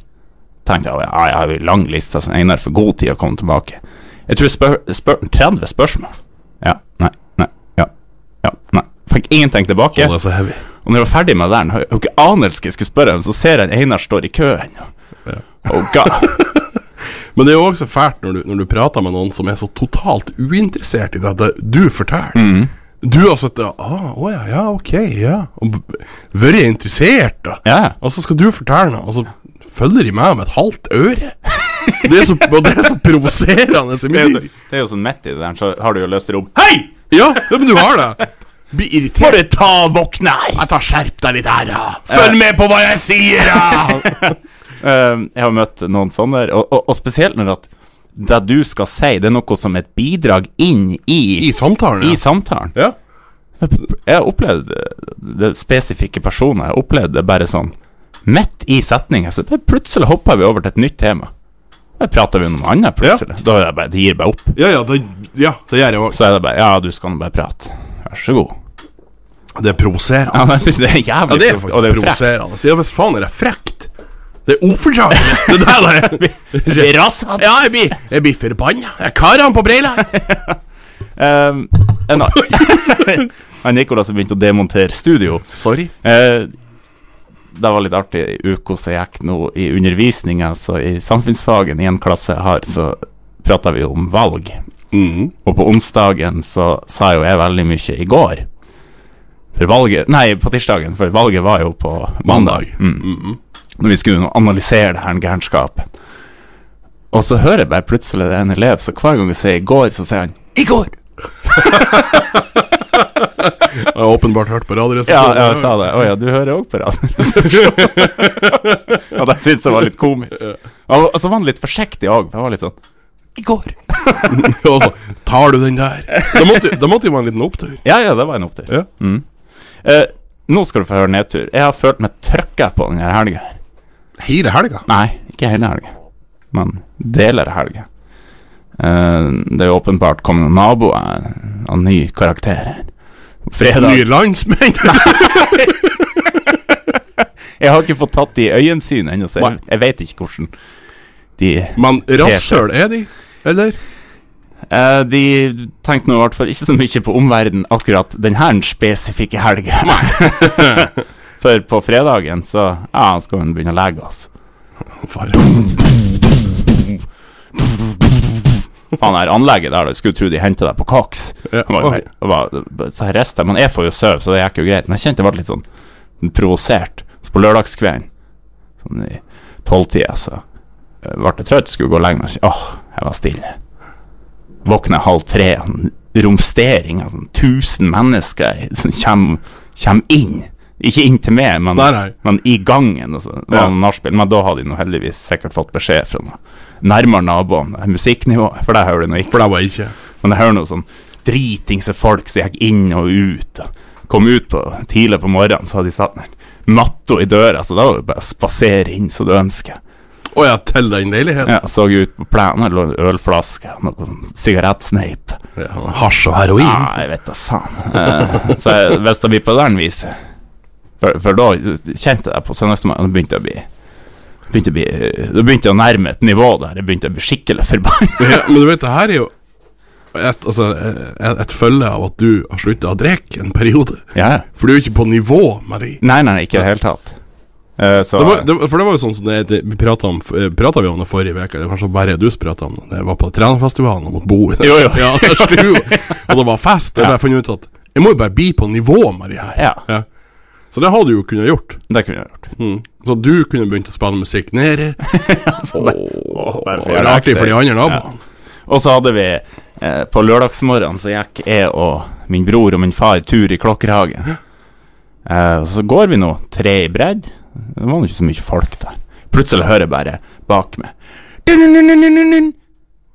Speaker 1: Tenkte jeg, ja, jeg har jo lang liste, så Einar får god tid å komme tilbake. Jeg tror jeg spør, spør 30 spørsmål. Ja, nei, nei, ja, ja, nei. Fikk ingenting tilbake.
Speaker 2: Å, det er så heavy.
Speaker 1: Og når jeg var ferdig med den, har jeg jo ikke anelse hva jeg skulle spørre om, så ser jeg at Einar står i kø ennå.
Speaker 2: Ja.
Speaker 1: Oh god.
Speaker 2: Men det er jo også fælt når du, når du prater med noen som er så totalt uinteressert i det det du forteller.
Speaker 1: Mm.
Speaker 2: Du har sittet og ah, Å ja, ja, ok, ja. Og b- vært interessert, da.
Speaker 1: Ja,
Speaker 2: Og så skal du fortelle noe, og så følger de meg med et halvt øre. Det er så, og det er så provoserende. som
Speaker 1: det er,
Speaker 2: jeg
Speaker 1: jo,
Speaker 2: sier.
Speaker 1: det er jo sånn midt i det der, så har du jo lyst til å rope Hei!
Speaker 2: Ja, ja, men du har det. Blir irritert.
Speaker 1: Bare ta og våkne her!
Speaker 2: Jeg tar skjerp deg litt her, da. Følg med på hva jeg sier, da!
Speaker 1: Eh, jeg har møtt noen sånne, og, og, og spesielt når at det du skal si, det er noe som et bidrag inn i,
Speaker 2: I samtalen,
Speaker 1: i
Speaker 2: ja.
Speaker 1: samtalen.
Speaker 2: ja.
Speaker 1: Jeg har opplevd eh, det spesifikke personer. Jeg har opplevd det bare sånn midt i setninga, så bare plutselig hopper vi over til et nytt tema. Da prater vi om noe annet plutselig. Da er det bare, det gir bare opp.
Speaker 2: Ja, ja, det, ja, det gjør jeg òg.
Speaker 1: Så er det bare Ja, du skal nå bare prate. Vær så god.
Speaker 2: Det er
Speaker 1: Ja,
Speaker 2: provoserende.
Speaker 1: men det er jævlig
Speaker 2: Ja, det
Speaker 1: provo-
Speaker 2: er
Speaker 1: og
Speaker 2: faktisk
Speaker 1: jo frekt.
Speaker 2: provoserende. Ja, hvis faen er det frekt? Det er ufordragelig. Det der det er
Speaker 1: Det er rasende.
Speaker 2: Ja, jeg blir, jeg blir forbanna. Jeg karer han på brilla.
Speaker 1: Um, en annen Han Nicolas som begynte å demontere studio.
Speaker 2: Sorry.
Speaker 1: Eh, det var litt artig. I uka som gikk nå i undervisninga, så i samfunnsfagen i en klasse jeg har, så prata vi om valg. Og på onsdagen så sa jo jeg veldig mye i går. For valget Nei, på tirsdagen, for valget var jo på mandag.
Speaker 2: Mandag.
Speaker 1: Mm. Når vi skulle nå analysere det her gærenskapet. Og så hører jeg bare plutselig det er en elev, så hver gang jeg sier 'i går', så sier han 'i går'.
Speaker 2: Jeg har åpenbart hørt på
Speaker 1: Ja,
Speaker 2: Radioresepsjonen.
Speaker 1: ja, jeg sa det. Å ja, du hører òg på radioresepsjonen. og det syntes jeg var litt komisk. Og og så var han litt forsiktig òg. Han var litt sånn I går.
Speaker 2: Og så tar du den der. Da måtte, da måtte jo være en liten opptur.
Speaker 1: Ja, ja, det var en opptur.
Speaker 2: Ja.
Speaker 1: Mm. Eh, nå skal du få høre nedtur. Jeg har følt meg trøkka på denne helga. her.
Speaker 2: Hele helga.
Speaker 1: Nei, ikke hele helga, men deler av helga. Eh, det er jo åpenbart kommet noen naboer av ny karakter her. Fredag
Speaker 2: Nye landsmenn.
Speaker 1: Jeg har ikke fått tatt de i øyensyn ennå, så jeg,
Speaker 2: Nei.
Speaker 1: jeg vet ikke hvordan de
Speaker 2: Men rasshøl er de, eller?
Speaker 1: Eh, de tenkte nå i hvert fall ikke så mye på omverdenen akkurat denne spesifikke helgen. For på fredagen så Ja, skal hun begynne å altså. legge oss.
Speaker 2: Far.
Speaker 1: Faen, det her anlegget der, du skulle tro de hentet deg på koks.
Speaker 2: Ja,
Speaker 1: Han var-
Speaker 2: ok.
Speaker 1: han var- Så jeg reiste, men jeg får jo sove, så det gikk jo greit. Men jeg kjente jeg ble litt sånn provosert. Så på lørdagskvelden, sånn i tolvtida, så eh, ble jeg trøtt, skulle gå og legge meg. så- Åh, jeg var stille. Våkna halv tre, sånn romstering av sånn tusen mennesker som kommer, inn. Ikke inn til meg, men
Speaker 2: Nei, nei.
Speaker 1: men i gangen altså, var
Speaker 2: Ja.
Speaker 1: det nachspiel. Men da hadde de nå heldigvis sikkert fått beskjed fra noe nærmere naboene, det musikknivået, for det hører de nå ikke.
Speaker 2: For det var jeg ikke.
Speaker 1: Men jeg hører noe sånn dritingse folk som gikk inn og ut. Og kom ut på, tidlig på morgenen, så hadde de satt ned natta i døra, så da var det bare å spasere inn som du ønsker.
Speaker 2: Å ja, til den leiligheten.
Speaker 1: Ja, så ut på plenen, det lå en ølflaske, noe sånn sigarettsneip.
Speaker 2: Ja. Hasj og heroin.
Speaker 1: Ja, jeg vet da faen. Eh, så jeg, hvis det blir på den viset For, for da kjente jeg på søndagsmorgenen Da begynte jeg å bli Begynte å bli eh, Da begynte jeg å nærme et nivå der jeg begynte å bli skikkelig forbanna.
Speaker 2: Ja, men du vet, det her er jo et, altså, et, et følge av at du har slutta å drikke en periode.
Speaker 1: Ja. ja.
Speaker 2: For du er jo ikke på nivå med de.
Speaker 1: Nei, nei, ikke i det hele tatt. Eh, så
Speaker 2: Det var, det, var- for det var jo sånn som det, det, vi prata om f- eh, pratet vi om det forrige uke, eller kanskje bare du som prata om det. da Jeg var på trenerfestivalen og måtte bo i det.
Speaker 1: Jo, jo.
Speaker 2: Ja, der slo jo. Og det var fest. Og jeg funnet ut at jeg må jo bare bli på nivå med de her.
Speaker 1: Ja.
Speaker 2: Så det har du jo kunnet gjort.
Speaker 1: det kunne jeg gjort.
Speaker 2: Mm. Så du kunne begynt å spille musikk nede.
Speaker 1: Åh, bare
Speaker 2: Og
Speaker 1: for å
Speaker 2: det
Speaker 1: gjøre
Speaker 2: er
Speaker 1: det
Speaker 2: artig for de
Speaker 1: ekstra.
Speaker 2: andre naboene.
Speaker 1: Og så hadde vi eh, På lørdagsmorgenen så gikk jeg og min bror og min far tur i Klokkerhagen. Eh, og så går vi nå tre i bredd. Det var nå ikke så mye folk der. Plutselig hører jeg bare bak meg «Dun-dun-dun-dun-dun-dun».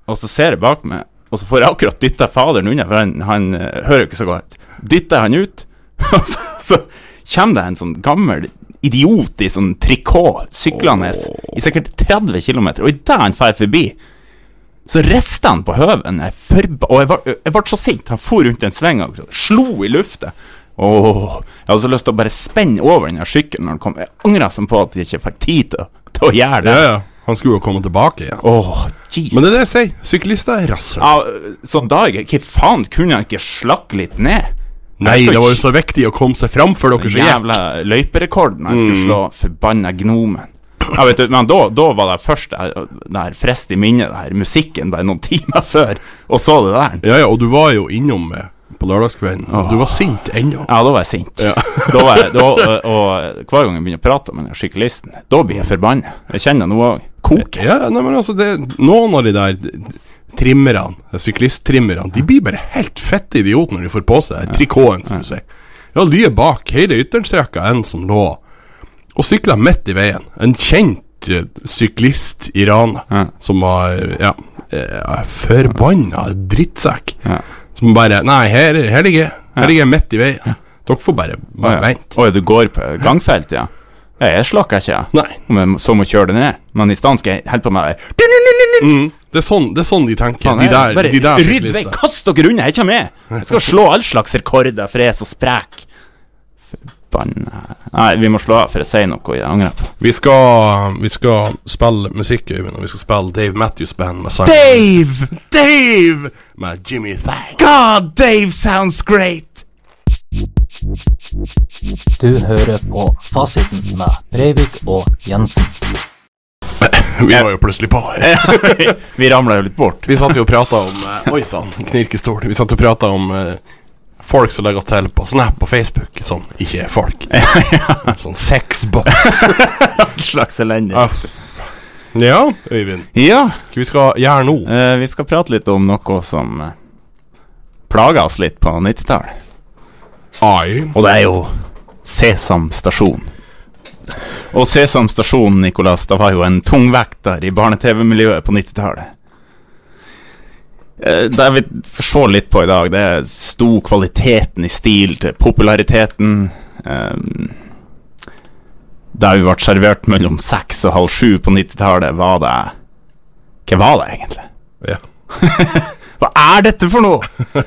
Speaker 1: Og så ser jeg bak meg, og så får jeg akkurat dytta faderen unna, for han, han eh, hører jo ikke så godt. Dytter han ut, og så, så kommer det en sånn gammel idiot i sånn trikot syklende i sikkert 30 km, og idet han drar forbi så rista han på høven, jeg forba, og jeg var- jeg ble så sint. Han for rundt en sving og slo i lufta. Åh, jeg hadde så lyst til å bare spenne over den her sykkelen når han kom. Jeg angra sånn på at jeg ikke fikk tid til, å- til å gjøre
Speaker 2: Ja,
Speaker 1: det.
Speaker 2: ja. Han skulle jo komme tilbake igjen.
Speaker 1: Åh, jeez.
Speaker 2: Men det er det jeg sier. Syklister er rasshøl.
Speaker 1: ja, sånn da, jeg- hva faen, kunne han ikke slakke litt ned?
Speaker 2: Nei,
Speaker 1: skal
Speaker 2: det var jo
Speaker 1: ikke-
Speaker 2: så viktig å komme seg fram før dere så jævla
Speaker 1: Jævla løyperekorden jeg skulle
Speaker 2: Mm.
Speaker 1: slå, forbanna gnomen. Ja, vet du, men da, da var det først det her- det her frist i minnet, det her musikken, bare noen timer før, og så det der.
Speaker 2: Ja, ja, og du var jo innom eh, på lørdagskvelden. og Du var sint ennå.
Speaker 1: Ja, da var jeg sint.
Speaker 2: Ja.
Speaker 1: da var jeg, da, og, og hver gang jeg begynner å prate om den syklisten, da blir jeg forbanna. Jeg kjenner noe òg. Kokes.
Speaker 2: Ja, nei, men altså, det, noen av de der trimmerne, de syklisttrimmerne, de blir bare helt fette idioter når de får på seg trikoten, som du sier. Ja, lyet bak, hele ytterstrekka, en som lå og sykla midt i veien. En kjent eh, syklist i Rana
Speaker 1: Ja.
Speaker 2: som var ja, eh, forbanna drittsekk.
Speaker 1: Ja.
Speaker 2: Som bare Nei, her, her ligger jeg. Her ligger jeg midt i veien. Dere får bare,
Speaker 1: Å
Speaker 2: bare
Speaker 1: ja.
Speaker 2: vente.
Speaker 1: Oi, du går på gangfelt, ja? Ja, jeg slakker ikke, jeg.
Speaker 2: Nei.
Speaker 1: Men så må jeg kjøre det ned. Men i stedet skal jeg holde på med
Speaker 2: Mm. Det, er sånn, det er sånn de tenker.
Speaker 1: Faen,
Speaker 2: de
Speaker 1: jeg-
Speaker 2: der,
Speaker 1: Bare
Speaker 2: de der
Speaker 1: rydd vei!
Speaker 2: syklistene.
Speaker 1: Kast dere unna, jeg er ikke med! Jeg skal slå all slags rekorder, for jeg er så sprek. Forbanna Nei, vi må slå av, for jeg sier noe jeg angrer på.
Speaker 2: Vi skal, vi skal spille musikk, Øyvind, og vi skal spille Dave Matthews Band med sangen
Speaker 1: Dave!
Speaker 2: Dave! Med Jimmy Thang.
Speaker 1: God, Dave sounds great!
Speaker 3: Du hører på Fasiten med Breivik og Jensen.
Speaker 2: Vi var jo plutselig på her.
Speaker 1: vi ramla jo litt bort.
Speaker 2: Vi satt jo og prata om eh, Oi sann, knirkestol. Vi satt og prata om eh, folk som legger oss til på Snap og Facebook, som ikke er folk. Sånn sexbox.
Speaker 1: All slags elendig.
Speaker 2: Ja. ja, Øyvind.
Speaker 1: Ja,
Speaker 2: Hva vi skal gjøre nå?
Speaker 1: eh, vi skal prate litt om noe som eh, plaga oss litt på 90-tallet.
Speaker 2: Ai.
Speaker 1: Og det er jo Sesam stasjon. Og Sesam stasjon, Nicolas, det var jo en tungvekter i barne-TV-miljøet på 90-tallet. Eh, Det vi skal se litt på i dag, det er sto kvaliteten i stil til populariteten. Um, der vi ble servert mellom seks og halv sju på 90-tallet, var det Hva var det egentlig?
Speaker 2: Ja.
Speaker 1: Hva er dette for noe?!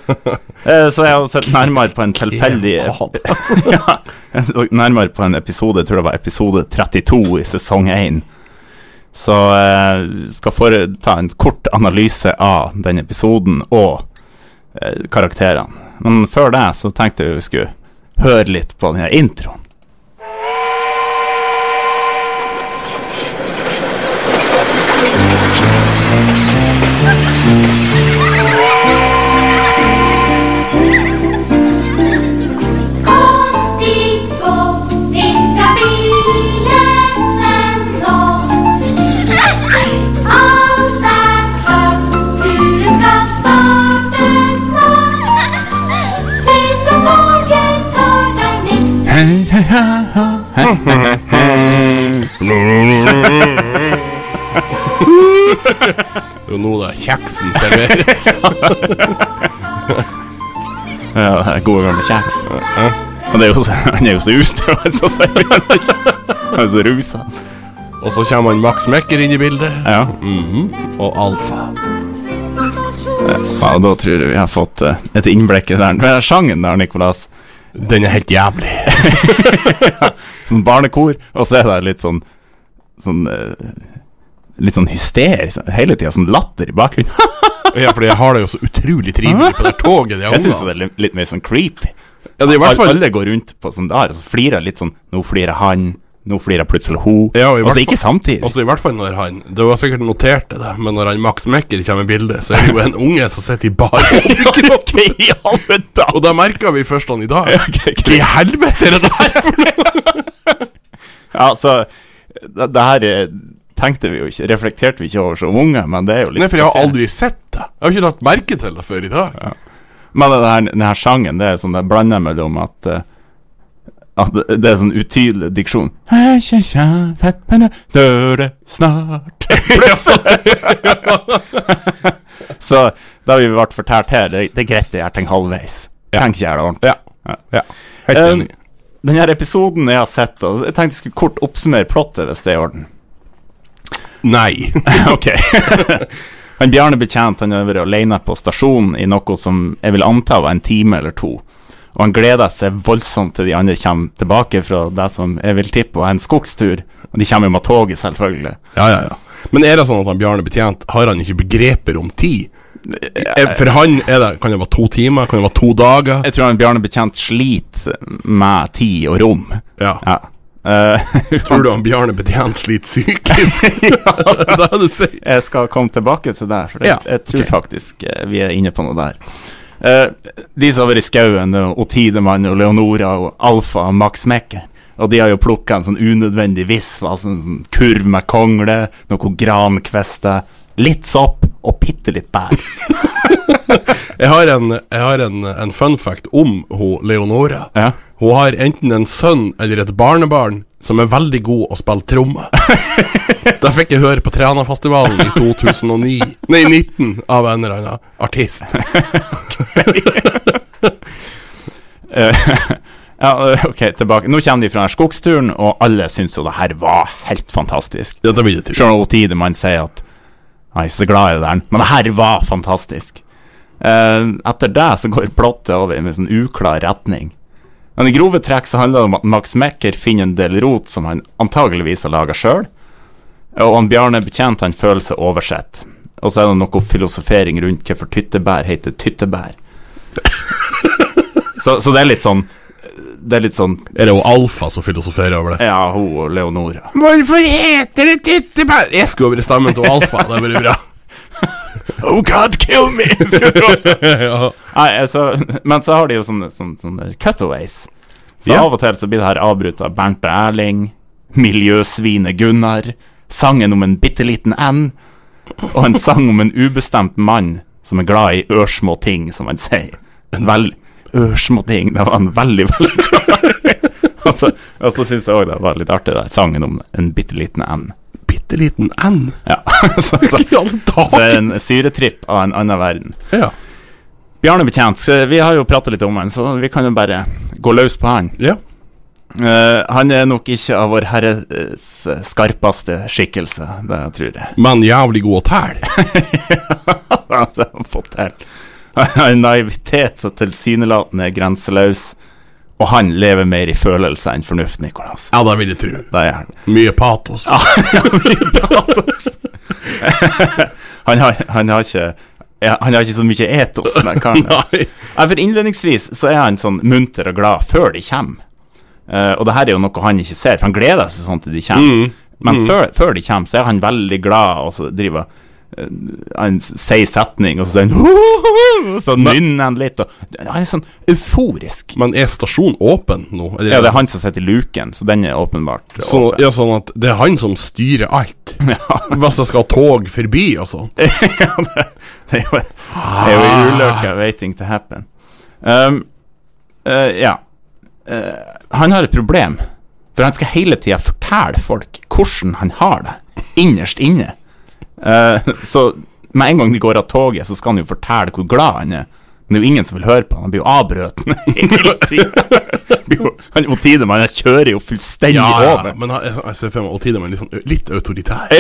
Speaker 1: Eh, Så jeg har sett nærmere på en tilfeldig ja, jeg så Nærmere på en episode, jeg tror det var episode 32 i sesong 1. Så eh, skal foreta en kort analyse av den episoden og eh, karakterene. Men før det så tenkte jeg vi skulle høre litt på den her introen.
Speaker 4: Kom, stig på litt fra bilen nå. Alt er klart, turen skal starte snart. Se som toget tar deg ned.
Speaker 2: Det er jo nå det er kjeksen serveres.
Speaker 1: Ja, det er gode gamle kjeks. Men det er jo, så- han er jo så ustø, han som sier gamle kjeks. Han er så rusa.
Speaker 2: og så kommer han Max Mekker inn i bildet.
Speaker 1: Ja.
Speaker 2: Mhm. Og Alfa.
Speaker 1: Ja, da tror jeg vi har fått eh, et innblikk i den eh, sangen der, Nikolas.
Speaker 2: Den er helt jævlig.
Speaker 1: Sånn barnekor, og så er det litt sånn Sånn eh, Litt sånn hysterisk hele tida, sånn latter i bakgrunnen.
Speaker 2: Ja, fordi jeg har det jo så utrolig trivelig på det toget. De
Speaker 1: Jeg syns det er litt, litt mer sånn creepy.
Speaker 2: ja, det er i hvert fall
Speaker 1: Alle går rundt på sånn der, og så flirer litt sånn Nå flirer han, nå flirer plutselig hun.
Speaker 2: Ja, og i hvert
Speaker 1: altså
Speaker 2: fall-
Speaker 1: ikke samtidig.
Speaker 2: Altså i hvert fall når han Du har sikkert notert det, da, men når han Max Mekker kommer i bildet, så er det jo en unge som sitter i bar.
Speaker 1: Ok, i alle dager!
Speaker 2: Og da merka vi først han i dag.
Speaker 1: Ja, ok,
Speaker 2: Hva i helvete er det der for noe?!
Speaker 1: Ja, så det, det her eh, tenkte vi jo ikke, reflekterte vi ikke over som unge, men det er jo litt
Speaker 2: Nei, for jeg har
Speaker 1: spesielt.
Speaker 2: aldri sett det. Jeg har ikke lagt merke til det før i dag.
Speaker 1: Men den her, den her sangen, det er sånn det blander mellom at eh, At det- det er sånn utydelig diksjon. Hei, kjæ, kjæ, peppene, døde snart Så det har vi vært fortalt her. Det, det er greit å gjøre ting halvveis. Tenk ikke gjøre det ordentlig.
Speaker 2: Ja. ja. Helt
Speaker 1: Um,
Speaker 2: enig.
Speaker 1: Den her episoden jeg har sett, og jeg tenkte jeg skulle kort oppsummere plottet, hvis det er i orden.
Speaker 2: Nei.
Speaker 1: ok. han Bjarne Betjent han har vært alene på stasjonen i noe som jeg vil anta var en time eller to. Og han gleder seg voldsomt til de andre kommer tilbake fra det som jeg vil tippe var en skogstur. Og de kommer jo med toget, selvfølgelig.
Speaker 2: Ja, ja, ja. Men er det sånn at han Bjarne Betjent har han ikke begreper om tid? Eh, For han er det, kan det være to timer, kan det være to dager?
Speaker 1: Jeg tror han Bjarne Betjent sliter med tid og rom.
Speaker 2: Ja.
Speaker 1: Ja. Eh,
Speaker 2: Tror du han Bjarne Betjent sliter psykisk? det er det du sier.
Speaker 1: jeg skal komme tilbake til det, for jeg,
Speaker 2: Ja,
Speaker 1: jeg tror
Speaker 2: ok.
Speaker 1: faktisk eh, vi er inne på noe der. Eh, de som har vært i skauen, det er jo Tidemann og Leonora og Alfa og Max Mekker, og de har jo plukka en sånn unødvendig visva, sånn, sånn kurv med kongle, noe grankvester, litt sopp og bitte litt bær.
Speaker 2: Jeg har en, jeg har en, en fun fact om hun Leonora.
Speaker 1: Ja.
Speaker 2: Hun har enten en sønn eller et barnebarn som er veldig god å spille tromme. Det fikk jeg høre på Træna-festivalen i 2009 Nei, 19 av en eller annen artist.
Speaker 1: Ja, eh, ok, tilbake. Nå kommer de fra denne skogsturen, og alle syns jo det her var helt fantastisk.
Speaker 2: Ja, det blir det til.
Speaker 1: Selv om Tide man sier at Jeg er så glad i det der, men det her var fantastisk. Eh, etter det så går plottet over i en sånn uklar retning. Men i grove trekk så handler det om at Max Mekker finner en del rot som han antageligvis har laga sjøl, og han Bjarne Betjent han føler seg oversett. Og så er det noe filosofering rundt hvorfor tyttebær heter tyttebær. så, så det er litt sånn Det er litt sånn
Speaker 2: Er det jo Alfa som filosoferer over det?
Speaker 1: Ja, hun og Leonora.
Speaker 2: Hvorfor heter det tyttebær? Jeg skulle vært stemmen til Alfa. Det hadde vært bra.
Speaker 1: Oh God, kill me! skulle hun sagt.
Speaker 2: ja.
Speaker 1: Nei, altså, men så har de jo sånne, sånne, sånne cutaways. Så
Speaker 2: Ja.
Speaker 1: av og til så blir det her avbrutt av Bernt og Erling, miljøsvinet Gunnar, sangen om en bitte liten N, og en sang om en ubestemt mann som er glad i ørsmå ting, som han sier. En vel, ørsmå ting, det var han veldig, veldig glad i. Og så, og så syns jeg òg det var litt artig, det, sangen om en bitte liten N.
Speaker 2: Bitte liten N.
Speaker 1: Ja, så, så,
Speaker 2: I
Speaker 1: så er
Speaker 2: alle
Speaker 1: det
Speaker 2: dager!
Speaker 1: en syretripp av en annen verden.
Speaker 2: Ja.
Speaker 1: Bjarne Betjent, så vi har jo pratet litt om han, så vi kan jo bare gå løs på han.
Speaker 2: ja.
Speaker 1: Eh, han er nok ikke av Vår Herres eh, skarpeste skikkelse, det tror jeg.
Speaker 2: Men jævlig god å tæle.
Speaker 1: det har han fått til. Han har en naivitet som tilsynelatende er grenseløs, og han lever mer i følelse enn fornuft, Nikolas.
Speaker 2: Ja, det vil jeg tro.
Speaker 1: Det er han.
Speaker 2: Mye patos.
Speaker 1: Han har, han har ikke ja, han har ikke så mye etos. Den karen.
Speaker 2: Nei.
Speaker 1: Nei, for innledningsvis så er han sånn munter og glad før de kommer. Eh, og det her er jo noe han ikke ser, for han gleder seg sånn til de kommer.
Speaker 2: Mm.
Speaker 1: Men Før, før de kommer, så er han veldig glad, og så driver eh, han s- sier setning, og så sier han «Hohoho», og Så nynner han litt, og han er sånn euforisk.
Speaker 2: Men er stasjonen åpen nå? Eller-
Speaker 1: Ja, det er han som sitter i luken, så den er åpenbart
Speaker 2: Så,
Speaker 1: åpen.
Speaker 2: ja, sånn at det er han som styrer alt. Hvis jeg skal ha tog forbi og sånn.
Speaker 1: Det er jo, det er jo en ulykke waiting to happen. Um, eh, ja. Eh, han har et problem, for han skal hele tida fortelle folk hvordan han har det, innerst inne. Eh, så med en gang de går av toget, så skal han jo fortelle hvor glad han er. Men det er jo ingen som vil høre på han. Han blir jo avbrøt hele tida. Han jo Tidemann, han kjører jo fullstendig over.
Speaker 2: Men jeg, jeg ser for meg Otida med litt, sånn, ø- litt autoritær.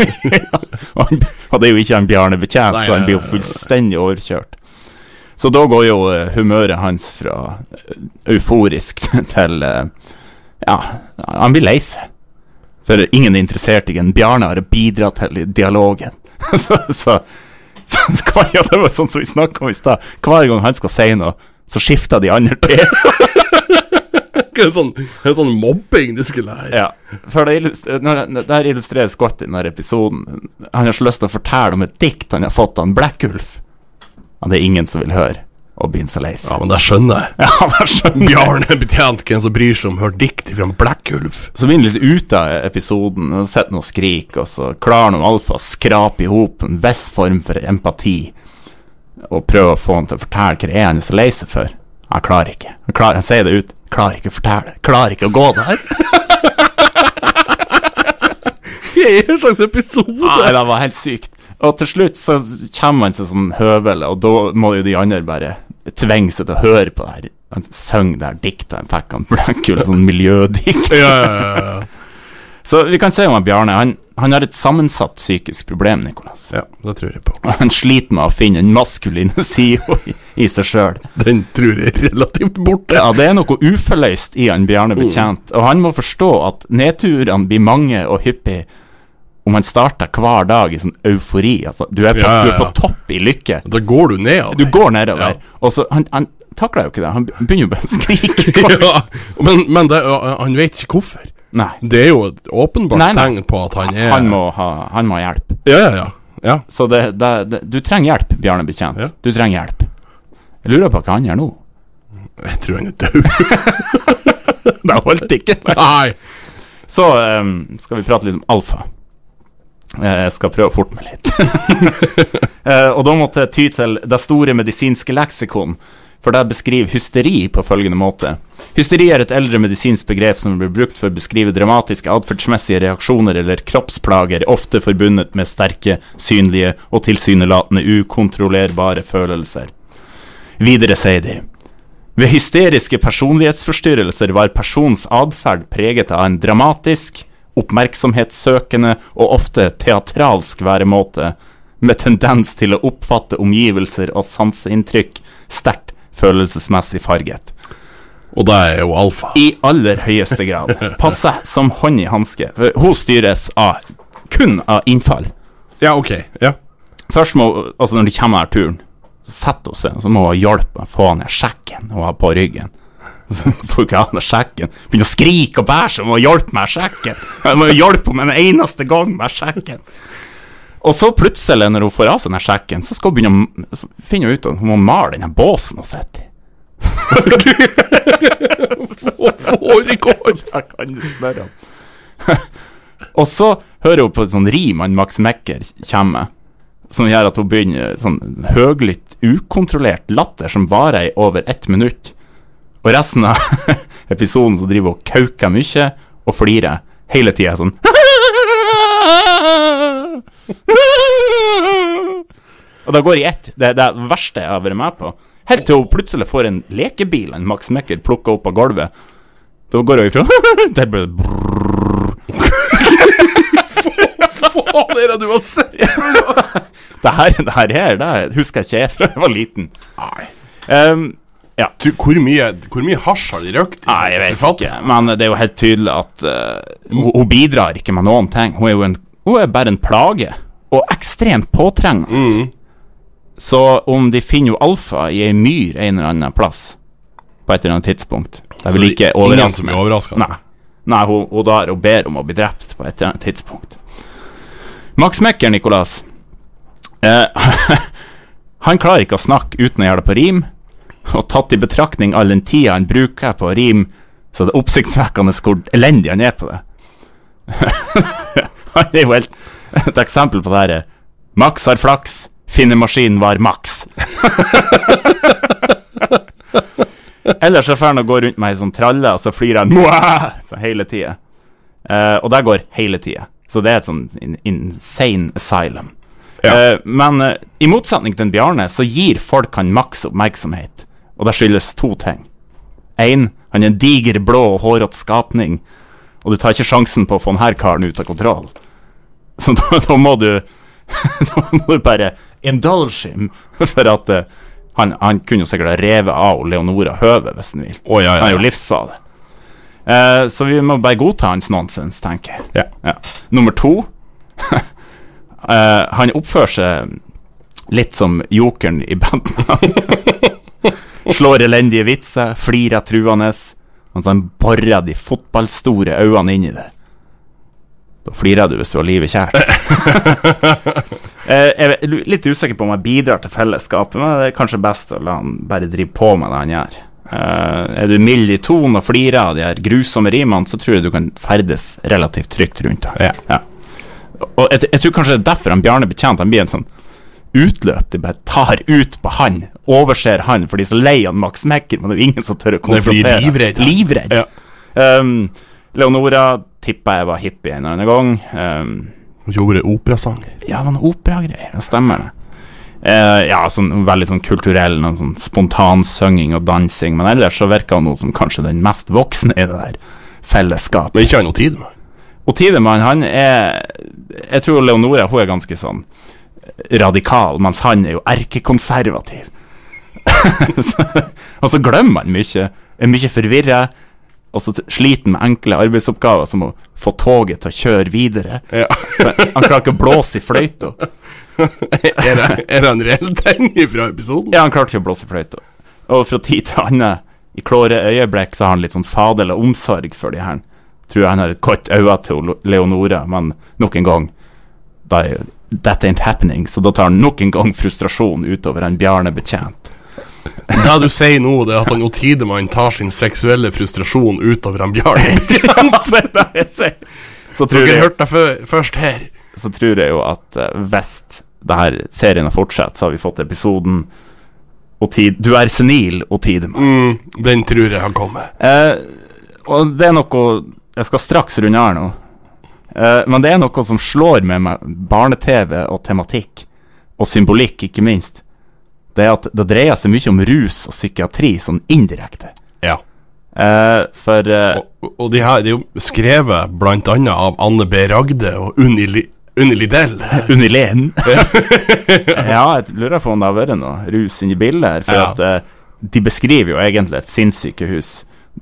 Speaker 1: Og han- og det er jo ikke han Bjarne Betjent,
Speaker 2: Nei,
Speaker 1: så han
Speaker 2: nei,
Speaker 1: blir jo
Speaker 2: nei, nei.
Speaker 1: fullstendig overkjørt. Så da går jo eh, humøret hans fra eh, euforisk til eh, Ja, han blir lei seg. For ingen er interessert i en Bjarne har bidratt til dialogen. så, så, så, så hver, ja, Det var sånn som vi snakka om i stad. Hver gang han skal si noe, så skifter de andre til.
Speaker 2: Det er sånn, det er sånn mobbing de skulle lære.
Speaker 1: Ja, for det, illus- eh, når, det det her illustreres godt i denne episoden. Han har så lyst til å fortelle om et dikt han har fått av en Blekkulf. Men det er ingen som vil høre, og begynner så lei seg.
Speaker 2: Ja, men det skjønner jeg.
Speaker 1: Ja, det skjønner jeg.
Speaker 2: Bjarne betjent hvem som bryr seg om hørt dikt fra en blekkulv.
Speaker 1: Så vi er litt ute av episoden, og sitter nå og skriker, og så klarer nå Alfa å skrape i hop en viss form for empati, og prøver å få han til å fortelle hva det er han er så lei seg for. Han klarer ikke. Han, klarer, han sier det ut. Klarer ikke å fortelle. Klarer ikke å gå der.
Speaker 2: Det er en slags episode!
Speaker 1: Nei, det var helt sykt. Og til slutt så kommer han seg sånn høvel, og da må jo de andre bare tvinge seg til å høre på det her. Han sang det her diktet han fikk av Blackhull, sånn miljødikt.
Speaker 2: Ja, ja, ja, ja.
Speaker 1: Så vi kan se om han Bjarne han, han har et sammensatt psykisk problem, Nikolas.
Speaker 2: ja, det tror jeg på.
Speaker 1: Han sliter med å finne den maskuline sida i, i seg sjøl.
Speaker 2: Den tror jeg er relativt borte.
Speaker 1: Ja, det er noe uforløst i han Bjarne
Speaker 2: Mm.
Speaker 1: Betjent, og han må forstå at nedturene blir mange og hyppige om han starter hver dag i sånn eufori. Altså, du, er på,
Speaker 2: Ja, ja,
Speaker 1: du er
Speaker 2: ja.
Speaker 1: på topp i lykke.
Speaker 2: Da går du ned av
Speaker 1: Du går nedover,
Speaker 2: Ja.
Speaker 1: og så Han, han takler jo ikke det. Han begynner jo bare å skrike.
Speaker 2: Ja, men, men det, ja, han vet ikke hvorfor.
Speaker 1: Nei.
Speaker 2: Det er jo et åpenbart
Speaker 1: Nei, nei.
Speaker 2: tegn på at han er
Speaker 1: Han må, ha, han må ha hjelp.
Speaker 2: Ja, ja, ja. ja.
Speaker 1: Så det, det, det Du trenger hjelp, Bjarne Betjent.
Speaker 2: Ja.
Speaker 1: Du trenger hjelp. Jeg lurer på hva han gjør nå.
Speaker 2: Jeg tror han er død.
Speaker 1: Det holdt ikke.
Speaker 2: Nei!
Speaker 1: Så ehm, skal vi prate litt om alfa. Eh, Jeg skal prøve å forte meg litt. Eh, og da måtte jeg ty til det store medisinske leksikon, for det beskriver hysteri på følgende måte. Hysteri er et eldre medisinsk begrep som blir brukt for å beskrive dramatiske atferdsmessige reaksjoner eller kroppsplager, ofte forbundet med sterke, synlige og tilsynelatende ukontrollerbare følelser. Videre sier de ved hysteriske personlighetsforstyrrelser var persons atferd preget av en dramatisk, oppmerksomhetssøkende og ofte teatralsk væremåte, med tendens til å oppfatte omgivelser og sanseinntrykk sterkt følelsesmessig farget.
Speaker 2: Og det er jo alfa.
Speaker 1: I aller høyeste grad. Passer som hånd i hanske. for Hun styres av kun av innfall.
Speaker 2: Ja, ok. Ja.
Speaker 1: Først må, altså når de kommer her turen Så setter hun seg Så må hun hjelpe meg å få ned sjekken Hun har på ryggen Så får hun ikke av ned sjekken Begynner å skrike og bære seg Hun må hjelpe meg med sjekken Jeg må jo hjelpe henne en eneste gang med sjekken Og så plutselig når hun får av seg denne sjekken Så skal hun begynne å finne ut at Hun må male denne båsen hun sitter i
Speaker 2: Foregår!
Speaker 1: Jeg kan jo spørre han. og så hører hun på et sånt rim han Max Mekker kommer med, som gjør at hun begynner sånn høglytt, ukontrollert latter som varer i over ett minutt. Og resten av episoden så driver hun og kauker mye og flirer hele tida sånn. Og det går i ett. Det er det verste jeg har vært med på. Helt til hun plutselig får en lekebil en Max Mekker plukker opp av gulvet. Da går hun ifra Der ble det brrr.
Speaker 2: Faen, er det du har sett?
Speaker 1: Det her, det her, er- det her husker jeg ikke jeg fra jeg var liten.
Speaker 2: Nei.
Speaker 1: Ehm,
Speaker 2: Du, hvor mye, hvor mye hasj har de røkt? i?
Speaker 1: nei, jeg vet
Speaker 2: Fatt.
Speaker 1: ikke, men det er jo helt tydelig at eh, hun, hun bidrar ikke med noen ting. Hun er jo en, hun er bare en plage, og ekstremt påtrengende.
Speaker 2: Mm.
Speaker 1: Så om de finner jo Alfa i ei myr en eller annen plass, på et eller annet tidspunkt Det er vel
Speaker 2: det er
Speaker 1: ikke
Speaker 2: ingen
Speaker 1: overraskende.
Speaker 2: som er overrasket?
Speaker 1: Nei. Nei, hun, hun, der, hun ber om å bli drept på et eller annet tidspunkt. Max Mekker, Nicolas. Eh, han klarer ikke å snakke uten å gjøre det på rim, og tatt i betraktning all den tida han bruker på rim, så det er oppsiktsvekkende hvor elendig han er på det. han er jo helt et eksempel på det her. Max har flaks, finnemaskinen var Max. Ellers så får han å gå rundt med ei sånn tralle, og så flyr han «Mwah!» så hele tida. Eh, og det går hele tida. Så det er et sånn in insane asylum. Eh, men eh, i motsetning til en Bjarne, så gir folk han maks oppmerksomhet. Og det skyldes to ting. Én, han er en diger, blå og hårete skapning, og du tar ikke sjansen på å få denne karen ut av kontroll. Så da, da må du Da må du bare indulge him, for at eh, han, han kunne jo sikkert ha revet av Leonora høvet hvis han vil.
Speaker 2: Å, ja, ja,
Speaker 1: Han er jo
Speaker 2: ja.
Speaker 1: livsfarlig. Eh, så vi må bare godta hans nonsens, tenker jeg.
Speaker 2: Ja.
Speaker 1: Ja. Nummer to eh, Han oppfører seg litt som jokeren i Batman. Slår elendige vitser, flirer truende, mens han borer de fotballstore øynene inn i det. Da flirer du hvis du har livet kjært. Eh, jeg er lu- litt usikker på om jeg bidrar til fellesskapet, men det er kanskje best å la han bare drive på med det han gjør. Eh, er du mild i tonen og flirer av de her grusomme rimene, så tror jeg du kan ferdes relativt trygt rundt her.
Speaker 2: Ja.
Speaker 1: Og jeg, jeg tror kanskje det er derfor han Bjarne Betjent han blir en sånn utløp. De bare tar ut på han, overser han, for de er så lei av Max Mekker, men det er jo ingen som tør å
Speaker 2: Nei, for de er
Speaker 1: konfrontere.
Speaker 2: livredd.
Speaker 1: Livredd.
Speaker 2: Ja.
Speaker 1: Um, Leonora tippa jeg var hippie en eller annen gang. Um,
Speaker 2: Hun gjorde operasanger.
Speaker 1: ja, men operagreier, det stemmer det. Eh, ja, sånn veldig sånn kulturell, noen sånn spontan synging og dansing, men ellers så virker han nå som kanskje den mest voksne i det der fellesskapet.
Speaker 2: Men ikke har jeg noe tid med.
Speaker 1: Og Tidemann, han er Jeg tror Leonora hun er ganske sånn radikal, mens han er jo erkekonservativ. Så- og så glemmer han mye. Er mye forvirra, og så t- sliter han med enkle arbeidsoppgaver som å få toget til å kjøre videre.
Speaker 2: Ja.
Speaker 1: Han klarer ikke å blåse i fløyta.
Speaker 2: er, det, er det en reell ting fra episoden?
Speaker 1: Ja, han klarte ikke å blåse i fløyta. Og fra tid til annen, i klåre øyeblikk, så har han litt sånn fadel og omsorg for de her. Tror han har et godt øye til Lo- Leonora, men nok en gang da er, That ain't happening, så da tar han nok en gang frustrasjon utover en Bjarne betjent.
Speaker 2: Det du sier nå, det er at han Otidemann tar sin seksuelle frustrasjon utover han Bjarne.
Speaker 1: Altså, det er det jeg sier. så, tror
Speaker 2: Dere
Speaker 1: jeg,
Speaker 2: hørte det fø- først her.
Speaker 1: så tror jeg jo at eh, hvis det her serien har fortsatt, så har vi fått episoden og tid Du er senil og tidemann.
Speaker 2: Mm, den tror jeg har kommet.
Speaker 1: Eh, og det er noe Jeg skal straks runde her nå. Eh, men det er noe som slår med meg, barne-TV og tematikk, og symbolikk, ikke minst. Det er at det dreier seg mye om rus og psykiatri, sånn indirekte.
Speaker 2: Ja.
Speaker 1: Eh, for eh,
Speaker 2: Og, og de her de er jo skrevet blant annet av Anne B. Ragde og Unni, Li- Unni Lidell.
Speaker 1: Unileden. ja, jeg lurer på om det har vært noe rus inni bildet her. For
Speaker 2: Ja.
Speaker 1: at eh, de beskriver jo egentlig et sinnssykehus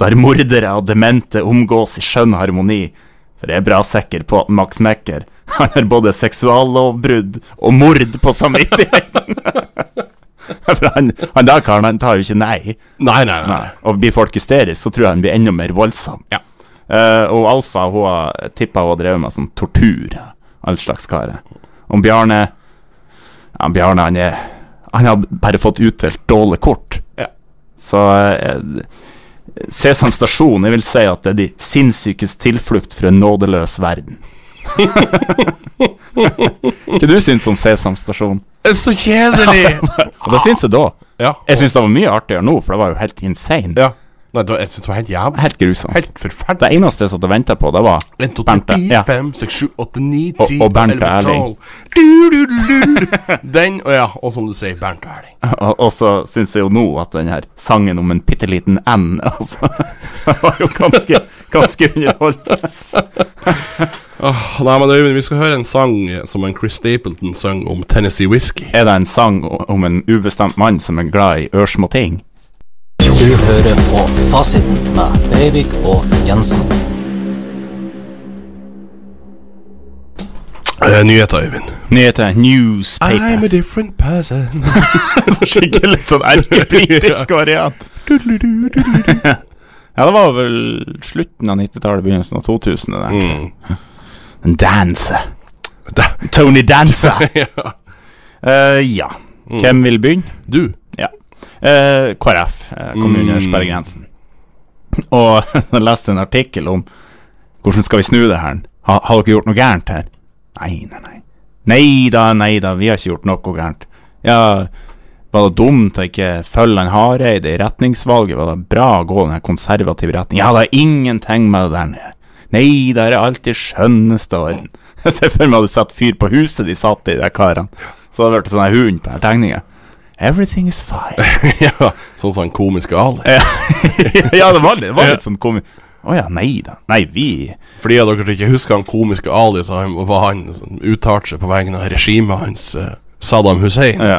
Speaker 1: der mordere og demente omgås i skjønn harmoni. For jeg er bra sikker på at Max Mekker han har både seksuallovbrudd og mord på samvittigheten. for han, han der karen han tar jo ikke nei.
Speaker 2: Nei, nei, nei.
Speaker 1: Nei. Og blir folk hysteriske, så tror jeg han blir enda mer voldsom.
Speaker 2: Ja.
Speaker 1: Eh, og Alfa hun har tippa hun har drevet med sånn tortur. All slags karer. Om Bjarne ja, Bjarne han er Han har bare fått utdelt dårlige kort.
Speaker 2: Ja.
Speaker 1: Så eh, Sesam stasjon, jeg vil si at det er de sinnssykes tilflukt fra en nådeløs verden. Hva du syns om Sesam stasjon?
Speaker 2: Det er Så kjedelig!
Speaker 1: Og det syns jeg da.
Speaker 2: ja.
Speaker 1: Jeg syns det var mye artigere nå, for det var jo helt insane.
Speaker 2: ja. Nei, det var, jeg synes det var helt jævlig.
Speaker 1: Helt grusomt.
Speaker 2: Helt forferdelig.
Speaker 1: Det eneste jeg satt og venta på, det var
Speaker 2: 1, 2, 3,
Speaker 1: Bernthe.
Speaker 2: 4,
Speaker 1: Ja.
Speaker 2: 5, 6, 7, 8, 9, 10,
Speaker 1: Og- og Bernt og
Speaker 2: 11,
Speaker 1: Erling.
Speaker 2: 12 du, du, du, du. Den, og ja, og som du sier, Bernt og Erling
Speaker 1: Og, og så syns jeg jo nå at den her sangen om en bitte liten N altså, var jo ganske, ganske underholdende.
Speaker 2: Åh, Ah, Nei, men Øyvind, vi skal høre en sang Som en Chris Stapleton sang om Tennessee Whiskey
Speaker 1: Er det en sang o- om en ubestemt mann som er glad i ørsmå ting?
Speaker 3: Du hører på Fasiten med Breivik og Jensen.
Speaker 2: eh, Nyheter, Øyvind
Speaker 1: Nyheter
Speaker 2: I'm
Speaker 1: Newspaper.
Speaker 2: a different person
Speaker 1: Så Skikkelig sånn erkebritisk variant.
Speaker 2: du, du, du, du, du.
Speaker 1: Ja, det var vel slutten av 90-tallet, begynnelsen av 2000. Det der.
Speaker 2: Mm.
Speaker 1: En Dance.
Speaker 2: Da-
Speaker 1: Tony Danza.
Speaker 2: ja. Mm.
Speaker 1: Eh, ja. Hvem vil begynne?
Speaker 2: Du,
Speaker 1: Ja. Eh, KrF, eh, kommune
Speaker 2: Mm.
Speaker 1: Sperregrensen. Og jeg leste en artikkel om hvordan skal vi snu det her? Ha, har dere gjort noe gærent her? Nei, nei, nei. Nei da, nei da, vi har ikke gjort noe gærent. Ja, var det dumt å ikke følge han Hareide i retningsvalget? Var det bra å gå den her konservative retningen? Ja, det er ingenting med det der nede. Nei, det er alltid skjønneste orden. Jeg ser for meg at du setter fyr på huset de satt i, de karene. Så hadde det blitt sånn her hund på den tegninga. Everything is fine.
Speaker 2: ja, sånn som en komisk Ali
Speaker 1: ja, det var litt, det var litt sånn komisk. Å ja, nei da. Nei, vi
Speaker 2: Fordi av dere som ikke husker han komiske Ali Så han, var han som uttalte seg på vegne av regimet hans eh, Saddam Hussein
Speaker 1: ja.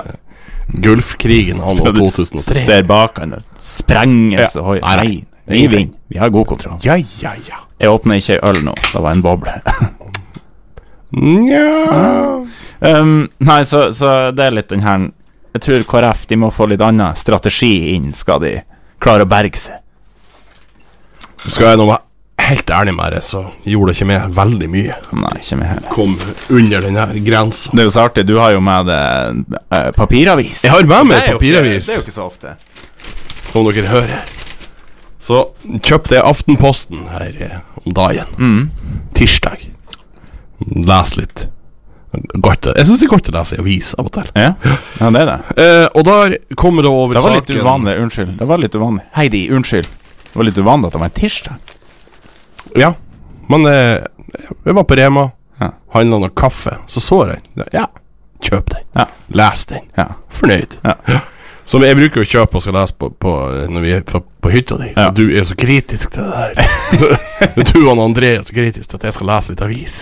Speaker 2: Gulfkrigen han og 2003
Speaker 1: Ser bak han, det sprenges
Speaker 2: Ja.
Speaker 1: og høy.
Speaker 2: Nei, nei.
Speaker 1: Nei, vi vinner. Vi har god kontroll.
Speaker 2: Ja, ja, ja
Speaker 1: Jeg åpner ikke øl nå, det var en boble.
Speaker 2: Nja
Speaker 1: um, nei, så, så det er litt den her Jeg tror KrF de må få litt annen strategi inn, skal de klare å berge seg.
Speaker 2: Skal jeg nå være helt ærlig med deg, så gjorde det ikke meg veldig mye.
Speaker 1: Nei, ikke meg heller.
Speaker 2: Kom under den her grensa.
Speaker 1: Det er jo så artig, du har jo med deg eh, papiravis.
Speaker 2: Jeg har med meg
Speaker 1: Det er jo ikke-
Speaker 2: papiravis,
Speaker 1: Det er jo ikke så ofte.
Speaker 2: som dere hører. Så kjøpte jeg Aftenposten her eh, om dagen. Tirsdag. Les litt. Godt, å- jeg syns det er godt å lese i avis av og til.
Speaker 1: Ja, ja det er det.
Speaker 2: Eh, og der kommer det over
Speaker 1: Det var
Speaker 2: saken
Speaker 1: litt uvanlig, unnskyld. Det var litt uvanlig. Heidi, unnskyld. Det var litt uvanlig at det var en tirsdag.
Speaker 2: Ja. Men eh, jeg var på Rema,
Speaker 1: Ja.
Speaker 2: handla noe kaffe, så så jeg den. Ja, kjøp den.
Speaker 1: Ja.
Speaker 2: Les den.
Speaker 1: Ja.
Speaker 2: Fornøyd.
Speaker 1: Ja.
Speaker 2: Som jeg bruker å kjøpe og skal lese på, på når vi er på, på hytta di.
Speaker 1: Ja.
Speaker 2: Og Du er så kritisk til det der. du og han André er så kritisk til at jeg skal lese litt avis.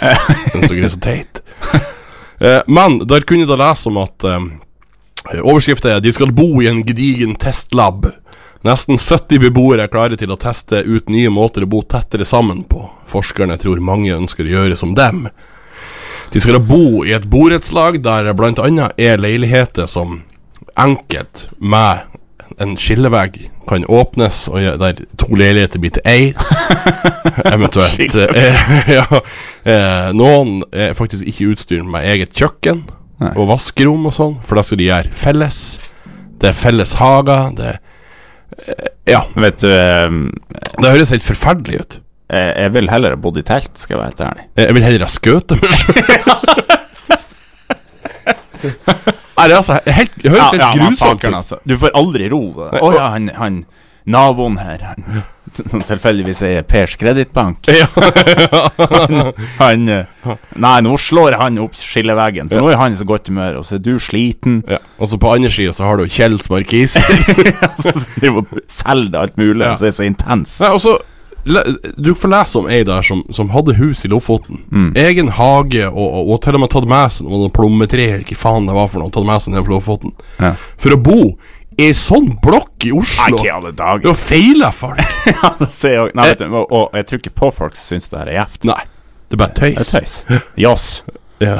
Speaker 2: Syns dere er så teit. Eh, men der kunne jeg da lese om at um, overskriften er 'De skal bo i en gedigen testlab'. Nesten 70 beboere er klare til å teste ut nye måter å bo tettere sammen på. Forskerne tror mange ønsker å gjøre som dem. De skal da bo i et borettslag der blant annet er leiligheter som enkelt med en skillevegg kan åpnes, og gjø- der to leiligheter blir til ei. Eventuelt. Eh, ja, eh, noen er faktisk ikke utstyrt med eget kjøkken
Speaker 1: Nei.
Speaker 2: og vaskerom og sånn, for da skal de gjøre felles. Det er felles hager. Det, eh, ja,
Speaker 1: Vet du, eh,
Speaker 2: det høres helt forferdelig ut.
Speaker 1: jeg jeg vil heller ha bodd i telt, skal jeg være helt ærlig.
Speaker 2: Eh, Jeg vil heller ha skøte meg sjøl. Nei, det er altså helt, det høres
Speaker 1: Ja,
Speaker 2: helt
Speaker 1: ja, men
Speaker 2: grusomt
Speaker 1: fakeren,
Speaker 2: ut.
Speaker 1: altså. Du får aldri ro. Å ja, han, han naboen her, han som tilfeldigvis er Pers kredittbank
Speaker 2: Ja.
Speaker 1: Han eh, Nei, nå slår han opp skilleveggen, for nå er han i så godt humør, og så er du sliten.
Speaker 2: ja. Og så på andre sida så har du Kjells markis.
Speaker 1: Så driver og selger alt mulig, og så er det så intens.
Speaker 2: Nei, og så le- Du får lese om ei der som, som hadde hus i Lofoten.
Speaker 1: Mm.
Speaker 2: Egen hage, og, og, og til og med tatt med seg noen plommetre, ikke faen det var for noe, tatt med seg ned fra Lofoten.
Speaker 1: Ja.
Speaker 2: For å bo i ei sånn blokk i
Speaker 1: Nei,
Speaker 2: Oslo!
Speaker 1: ikke i alle dager.
Speaker 2: Da feiler folk!
Speaker 1: Ja, det ser jeg, nei, vet du, og, og jeg tror ikke på folk som syns det her er gjevt.
Speaker 2: Nei, det er bare
Speaker 1: Det
Speaker 2: tøys.
Speaker 1: er tøys. Joss.
Speaker 2: Ja.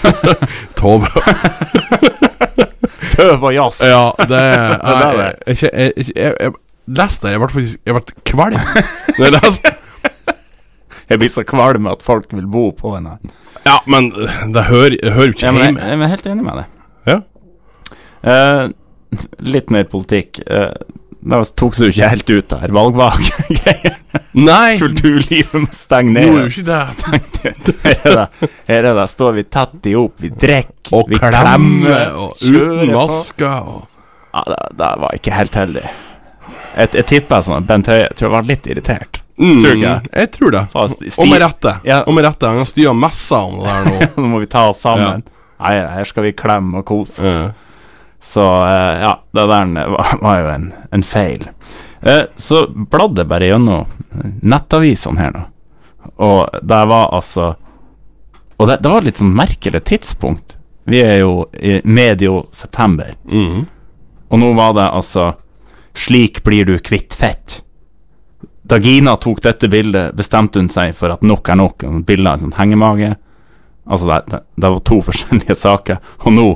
Speaker 2: Tove.
Speaker 1: Tøv og jazz.
Speaker 2: Ja, det er
Speaker 1: er det.
Speaker 2: Jeg, jeg, jeg, jeg, jeg, jeg leste det, jeg ble faktisk Jeg ble kvalm. Når jeg leste
Speaker 1: Jeg blir så kvalm at folk vil bo på en annen.
Speaker 2: Ja, men eh, det hører jeg hører jo ikke
Speaker 1: Ja, men jeg,
Speaker 2: hjemme.
Speaker 1: jeg er helt enig med deg.
Speaker 2: Ja.
Speaker 1: Eh, litt mer politikk. Eh, da tok seg jo ikke helt ut der. Valgvak-greier.
Speaker 2: Nei,
Speaker 1: Kulturlivet må stenge
Speaker 2: det
Speaker 1: ned.
Speaker 2: gjorde jo ikke det.
Speaker 1: Her er det, her er det, står vi tett i hop, vi drikker,
Speaker 2: Og
Speaker 1: vi
Speaker 2: klemme, og
Speaker 1: kjører
Speaker 2: uten
Speaker 1: på.
Speaker 2: masker og
Speaker 1: Ja, det, det var ikke helt heldig. Jeg, jeg tipper sånn at Bent Høie tror jeg var litt irritert.
Speaker 2: Mm.
Speaker 1: Tror du ikke det?
Speaker 2: Jeg tror det.
Speaker 1: Fast i
Speaker 2: Og med
Speaker 1: stil.
Speaker 2: rette.
Speaker 1: Ja.
Speaker 2: Og med rette. Han styrer messa om det der nå.
Speaker 1: Nå må vi ta oss sammen. Nei, her skal vi klemme og kose oss.
Speaker 2: Eh,
Speaker 1: Så eh, ja, det der var, var jo en, en feil. Eh, så bladde jeg bare gjennom nettavisene her nå, og det var altså Og det, det var litt sånn merkelig tidspunkt. Vi er jo i medio september,
Speaker 2: mhm.
Speaker 1: og nå var det altså 'Slik blir du kvitt fett'. Da Gina tok dette bildet, bestemte hun seg for at nok er nok. og Bildet av en sånn hengemage. Altså, det, det, det var to forskjellige saker. Og nå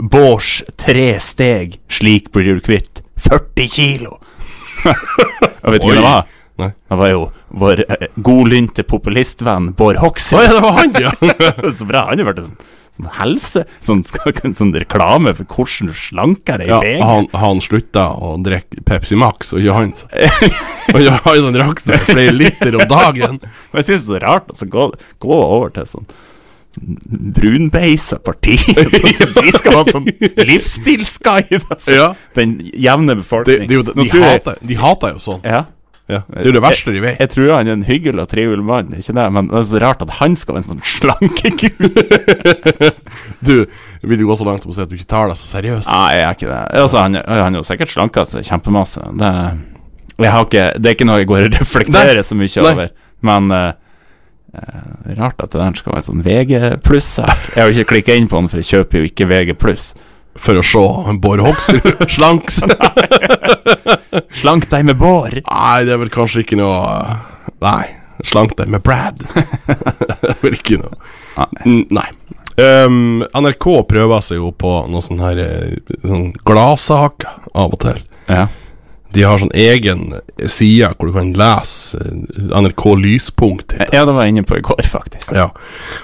Speaker 1: Bårds tre steg, slik blir du kvitt 40 kilo. Jeg vet ikke hva det
Speaker 2: Oi.
Speaker 1: var.
Speaker 2: Nei.
Speaker 1: Det var jo vår eh, godlynte populistvenn Bård
Speaker 2: Å
Speaker 1: Hoksrud.
Speaker 2: ja, det var han, ja!
Speaker 1: Så bra. Han har vært en sånn, sånn helse Sånn, skal- sånn reklame for hvordan du slanker deg i
Speaker 2: ja
Speaker 1: VG.
Speaker 2: han, han slutta å drikke Pepsi Max, og ikke han. så. Og ikke han som drakk seg flere liter om dagen.
Speaker 1: Men jeg synes det er rart altså, gå, gå over til sånn brunbeisa parti. Sånn som de skal ha sånn livsstilsguide for
Speaker 2: Ja.
Speaker 1: den jevne
Speaker 2: Det,
Speaker 1: befolkning.
Speaker 2: det, er jo det-
Speaker 1: Nå
Speaker 2: de,
Speaker 1: tror jeg-
Speaker 2: hater, de hater jo sånn.
Speaker 1: ja.
Speaker 2: Ja. Eh, Det er jo det verste de vet.
Speaker 1: Jeg tror han er en hyggelig og trivelig mann, ikke det? men det er så rart at han skal være en sånn slankegud.
Speaker 2: eh, Du vil jo gå så langt som å si at du ikke tar deg så seriøst.
Speaker 1: Nei, jeg er ikke det. Altså, han, han er jo sikkert slanka seg kjempemasse. Det, jeg har ikke, det er ikke noe jeg går og reflekterer
Speaker 2: Nei,
Speaker 1: så mye
Speaker 2: nei.
Speaker 1: over. Men eh, eh, rart at det der skal være en sånn VG pluss-sak. Jeg har jo ikke klikka inn på den, for jeg kjøper jo ikke VG pluss.
Speaker 2: For å se han Bård Hoksrud slank seg.
Speaker 1: Slank deg med bår!
Speaker 2: Nei, det er vel kanskje ikke noe Nei. Slank deg med Brad. det er vel ikke noe N- Nei. Ehm, NRK prøver seg jo på noe sånn her eh, sånn gladsaker av og til.
Speaker 1: Ja.
Speaker 2: De har sånn egen side hvor du kan lese eh, NRK Lyspunkt. heter det.
Speaker 1: ja, det var jeg inne på i går, faktisk.
Speaker 2: Ja.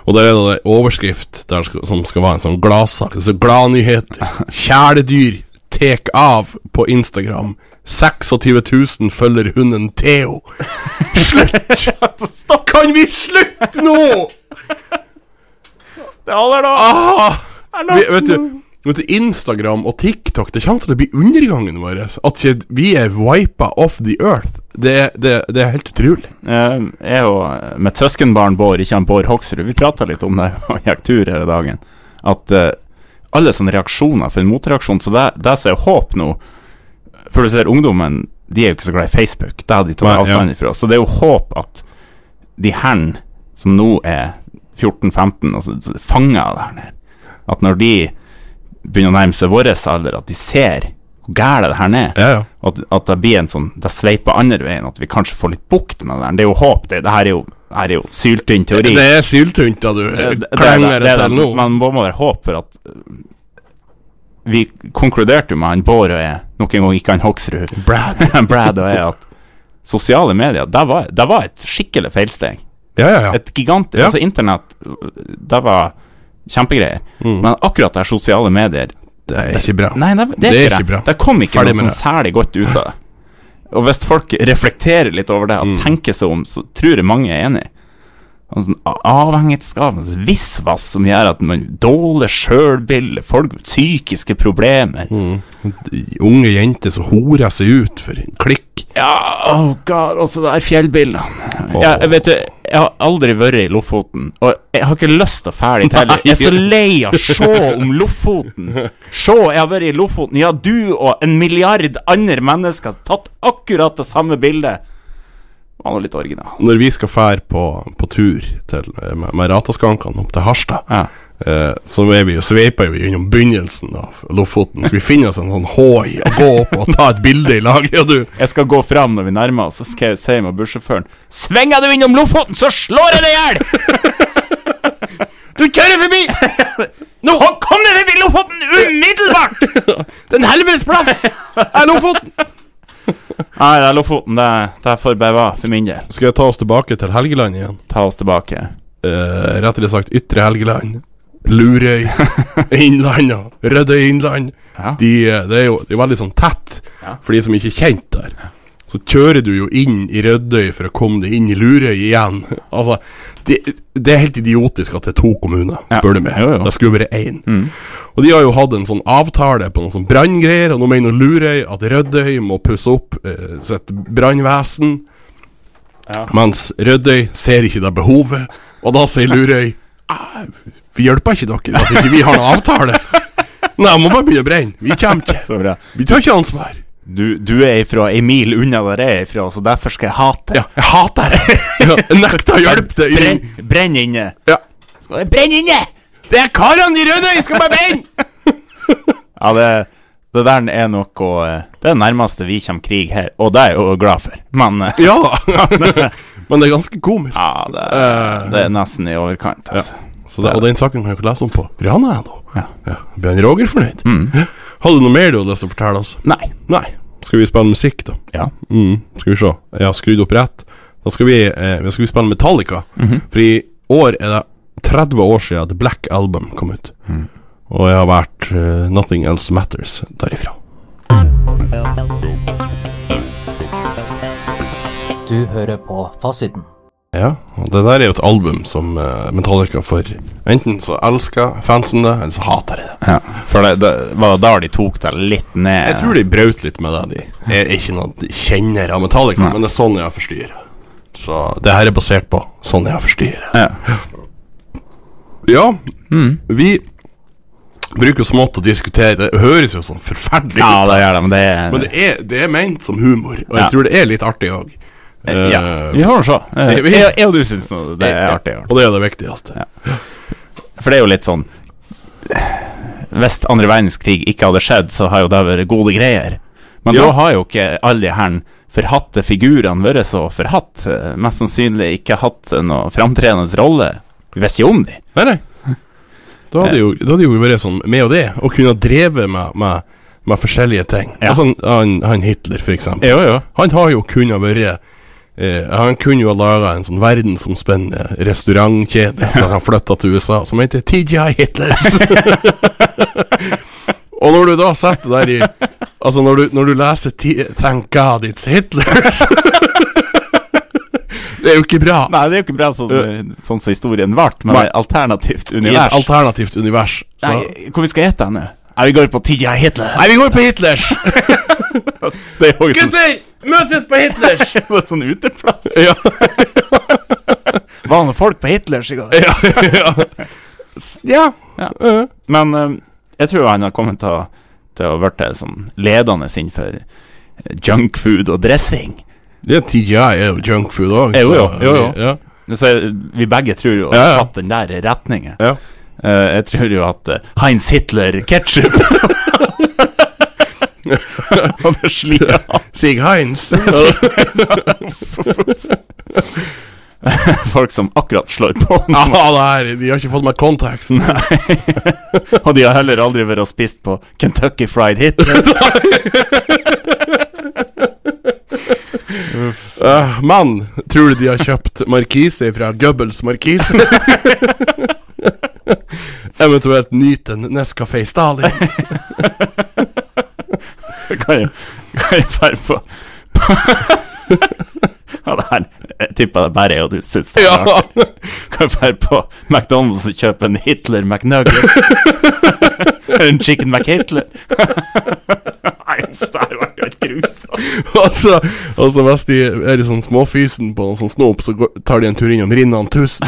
Speaker 2: Og der er det en overskrift der skal, som skal være en sånn gladsak. Altså gladnyheter. Kjæledyr tek av på Instagram. 26 000 følger hunden Theo. Slutt!
Speaker 1: Stopp
Speaker 2: Kan vi slutte nå?!
Speaker 1: det aller da!
Speaker 2: Ah! Vi, vet du Vet du, Instagram og TikTok Det kommer til å bli undergangen vår. At ikke vi er wipa off the earth. Det, det, det er helt utrolig.
Speaker 1: jeg og eh, mitt søskenbarn Bård, ikke han Bård Hoksrud, vi prata litt om det og gikk tur her i dagen. At eh, alle sånne reaksjoner for en motreaksjon, så det, det ser jeg håp nå. For du ser, ungdommen de er jo ikke så glad i Facebook. Det har de tatt
Speaker 2: Nei, ja.
Speaker 1: avstand ifra. Så det er jo håp at de her som nå er 14-15, altså, fanger av det her nede At når de begynner å nærme seg vår alder, at de ser hvor gæle det her nede
Speaker 2: Ja, ja.
Speaker 1: at, at det blir en sånn Det sveiper andre veien, at vi kanskje får litt bukt med det der. Det er jo håp, det, det her er jo, det her er jo syltynn teori.
Speaker 2: Det er syltynt, da, du.
Speaker 1: Det- det- det-
Speaker 2: Klenger
Speaker 1: det- det-
Speaker 2: det til nå.
Speaker 1: Man må må være håp for at øh, Vi konkluderte jo med han Bård og jeg, nok en gang ikke han Hoksrud,
Speaker 2: Brad.
Speaker 1: Brad og jeg, at sosiale medier, det var, det var et skikkelig feilsteg.
Speaker 2: Ja, ja, ja.
Speaker 1: Et gigant
Speaker 2: Ja.
Speaker 1: Altså, internett, øh, det var kjempegreier.
Speaker 2: Mm.
Speaker 1: Men akkurat det her sosiale medier
Speaker 2: Det er ikke bra.
Speaker 1: Nei, det, det, er, ikke det.
Speaker 2: bra.
Speaker 1: Det kom ikke
Speaker 2: Ferdig
Speaker 1: noe
Speaker 2: med
Speaker 1: sånn særlig godt ut av det. Mm. Og hvis folk reflekterer litt over det og tenker seg om, så tror jeg mange er enig. og sånn a- avhengighetsskap, altså visvas som gjør at man dårlig sjølbilde, folk med psykiske problemer.
Speaker 2: Unge jenter som horer seg ut for en klikk.
Speaker 1: Ja, oh god, også det der fjellbildene. Jeg, jeg vet du, jeg har aldri vært i Lofoten, og jeg har ikke lyst til å fære dit heller. Jeg er så lei av å se om Lofoten. Se, jeg har vært i Lofoten. Ja, du og en milliard andre mennesker har tatt akkurat det samme bildet. Det var nå litt original.
Speaker 2: Når vi skal fære på, på tur til, eh, med, med rataskankene opp til Harstad,
Speaker 1: Ja.
Speaker 2: eh, så er vi jo sveiper vi innom begynnelsen av Lofoten. Så vi finner oss en sånn hoi og gå opp og ta et bilde i lag. Ja, du.
Speaker 1: Jeg skal gå fram når vi nærmer oss, så skal jeg si med bussjåføren Svinger du innom Lofoten, så slår jeg deg i hjel!
Speaker 2: Du kjører forbi!
Speaker 1: Nå kom deg forbi Lofoten umiddelbart!
Speaker 2: Den helvetes plass! er Lofoten!
Speaker 1: Nei, det er Lofoten. Det, det får bare være for min del.
Speaker 2: Skal jeg ta oss tilbake til Helgeland igjen?
Speaker 1: Ta oss tilbake.
Speaker 2: Eh, rettere sagt Ytre Helgeland, Lurøy, Innlandet, Rødøy Innland.
Speaker 1: Ja.
Speaker 2: De, eh, det er jo det er veldig sånn tett
Speaker 1: Ja.
Speaker 2: for de som ikke er kjent der. Så kjører du jo inn i Rødøy for å komme deg inn i Lurøy igjen. Altså, det, det er helt idiotisk at det er to kommuner,
Speaker 1: Ja.
Speaker 2: spør du meg.
Speaker 1: Jo, Mm. jo.
Speaker 2: Det skulle være én. Og de har jo hatt en sånn avtale på noen sånn branngreier, og nå mener Lurøy at Rødøy må pusse opp eh, sitt brannvesen. Mens Rødøy ser ikke det behovet, og da sier Lurøy «Ah, Vi hjelper ikke dere, at ikke vi har noen avtale. Nei, jeg må bare begynne å brenne. Vi kommer ikke.
Speaker 1: Så bra.
Speaker 2: Vi tar ikke ansvar.
Speaker 1: Du, du er ifra ei mil unna der jeg er ifra, så derfor skal jeg hate
Speaker 2: Ja, jeg hater det. Ja, jeg nekter å hjelpe deg.
Speaker 1: Brenn, brenn inne!
Speaker 2: Ja.
Speaker 1: Skal jeg brenne inne?!
Speaker 2: Det er karene i Rødøy, skal bare brenne!
Speaker 1: Ja, det, det der er noe eh, Det er det nærmeste vi kommer krig her, og det er jeg jo glad for, men eh,
Speaker 2: Ja da. Men det er ganske komisk.
Speaker 1: Ja, det,
Speaker 2: Eh.
Speaker 1: det er nesten i overkant, altså.
Speaker 2: Så det, og den saken kan jeg ikke lese om på Rana ennå.
Speaker 1: Ja.
Speaker 2: Ja. Blir han Roger fornøyd? Har du noe mer du har lyst til å fortelle oss?
Speaker 1: Nei.
Speaker 2: Nei. Skal vi spille musikk, da?
Speaker 1: Ja.
Speaker 2: Mm, skal vi se. Jeg har skrudd opp rett. Da skal vi, eh, da skal vi spille Metallica. For i år er det 30 år siden at Black Album kom ut. Og jeg har vært eh, Nothing Else Matters derifra.
Speaker 3: Du hører på Fasiten.
Speaker 2: Ja, og det der er jo et album som eh, Metallica for Enten så elsker fansen det, eller så hater de det.
Speaker 1: ja. For det, det var da de tok deg litt ned.
Speaker 2: Jeg tror de brøt litt med det, de. Jeg er ikke noen kjenner av Metallica, men det er sånn jeg har forstyrra. Så det her er basert på sånn jeg har forstyrra.
Speaker 1: Ja.
Speaker 2: Ja,
Speaker 1: Mm.
Speaker 2: vi bruker jo smått å diskutere Det høres jo sånn forferdelig
Speaker 1: ja,
Speaker 2: ut,
Speaker 1: det gjør de. Det er
Speaker 2: men det er, det er ment som humor, og jeg
Speaker 1: Ja. Eh,
Speaker 2: tror det er litt artig òg.
Speaker 1: ja. Vi får se. Eh,
Speaker 2: vi-
Speaker 1: Jeg, jeg og du syns nå det er artig. i år.
Speaker 2: Og det er det viktigste.
Speaker 1: For det er jo litt sånn Hvis andre verdenskrig ikke hadde skjedd, så har jo det vært gode greier. Men
Speaker 2: Ja.
Speaker 1: da har jo ikke alle de her forhatte figurene vært så forhatt. eh, Mest sannsynlig ikke hatt noe framtredende rolle. Vi visste jo om de.
Speaker 2: Nei, nei. Da
Speaker 1: Eh.
Speaker 2: hadde jo, da hadde jo vært sånn med og det, å kunne dreve med, med, med forskjellige ting.
Speaker 1: Ja.
Speaker 2: Altså han, han Hitler, for eksempel.
Speaker 1: Jo, jo.
Speaker 2: Han har jo kunnet være eh, Han kunne jo ha laga en sånn verdensomspennende restaurantkjede da han flytta til USA, som heter TGI Hitlers. Og når du da setter der i Altså, når du, når du leser ti, Thank God It's Hitlers Det er jo ikke bra.
Speaker 1: Nei, det er jo ikke bra sånn, sånn som historien vart, men
Speaker 2: Nei.
Speaker 1: det er alternativt
Speaker 2: I et
Speaker 1: univers.
Speaker 2: alternativt univers. Så. Nei.
Speaker 1: Nei, hvor vi skal gjette henne? Nei, vi går på TJ Hitler.
Speaker 2: vi går på Hitlers!
Speaker 1: Det er jo sånn,
Speaker 2: Gutter! Møtes på Hitlers!
Speaker 1: det er sånn uteplass.
Speaker 2: ja,
Speaker 1: Var det folk på Hitlers i går?
Speaker 2: ja, ja. S- ja.
Speaker 1: Ja.
Speaker 2: eh,
Speaker 1: Men eh, jeg tror han har kommet til å, til å vært sånn ledende innenfor junkfood og dressing.
Speaker 2: Det TGI er jo junkfood òg.
Speaker 1: Jo, jo, jo, jo.
Speaker 2: Ja,
Speaker 1: Så jeg, vi begge tror jo
Speaker 2: Ja, ja.
Speaker 1: at den der er retningen.
Speaker 2: ja.
Speaker 1: Eh, jeg tror jo at eh, Heinz Hitler ketchup Hadde slia
Speaker 2: Sig Heinz.
Speaker 1: folk som akkurat slår på.
Speaker 2: Ja, det her, de har ikke fått med konteksten.
Speaker 1: Og de har heller aldri vært og spist på Kentucky Fried Hitler.
Speaker 2: Eh, Men tror du de har kjøpt markise fra Goebbels markise? Eventuelt nyt en Nescafé Stalin.
Speaker 1: Kan jeg, kan jeg bare få Ja, det her Jeg tipper jeg det bare er jo du syns det. er
Speaker 2: Ja!
Speaker 1: rart. Kan være på McDonald's og kjøpe en Hitler McNugget. Eller en Chicken McHitler. Nei, uff, det her var helt grusomt.
Speaker 2: Og så, og så hvis de er litt sånn småfysen på noe sånn snop, så går, tar de en tur innom Rinnan 1000.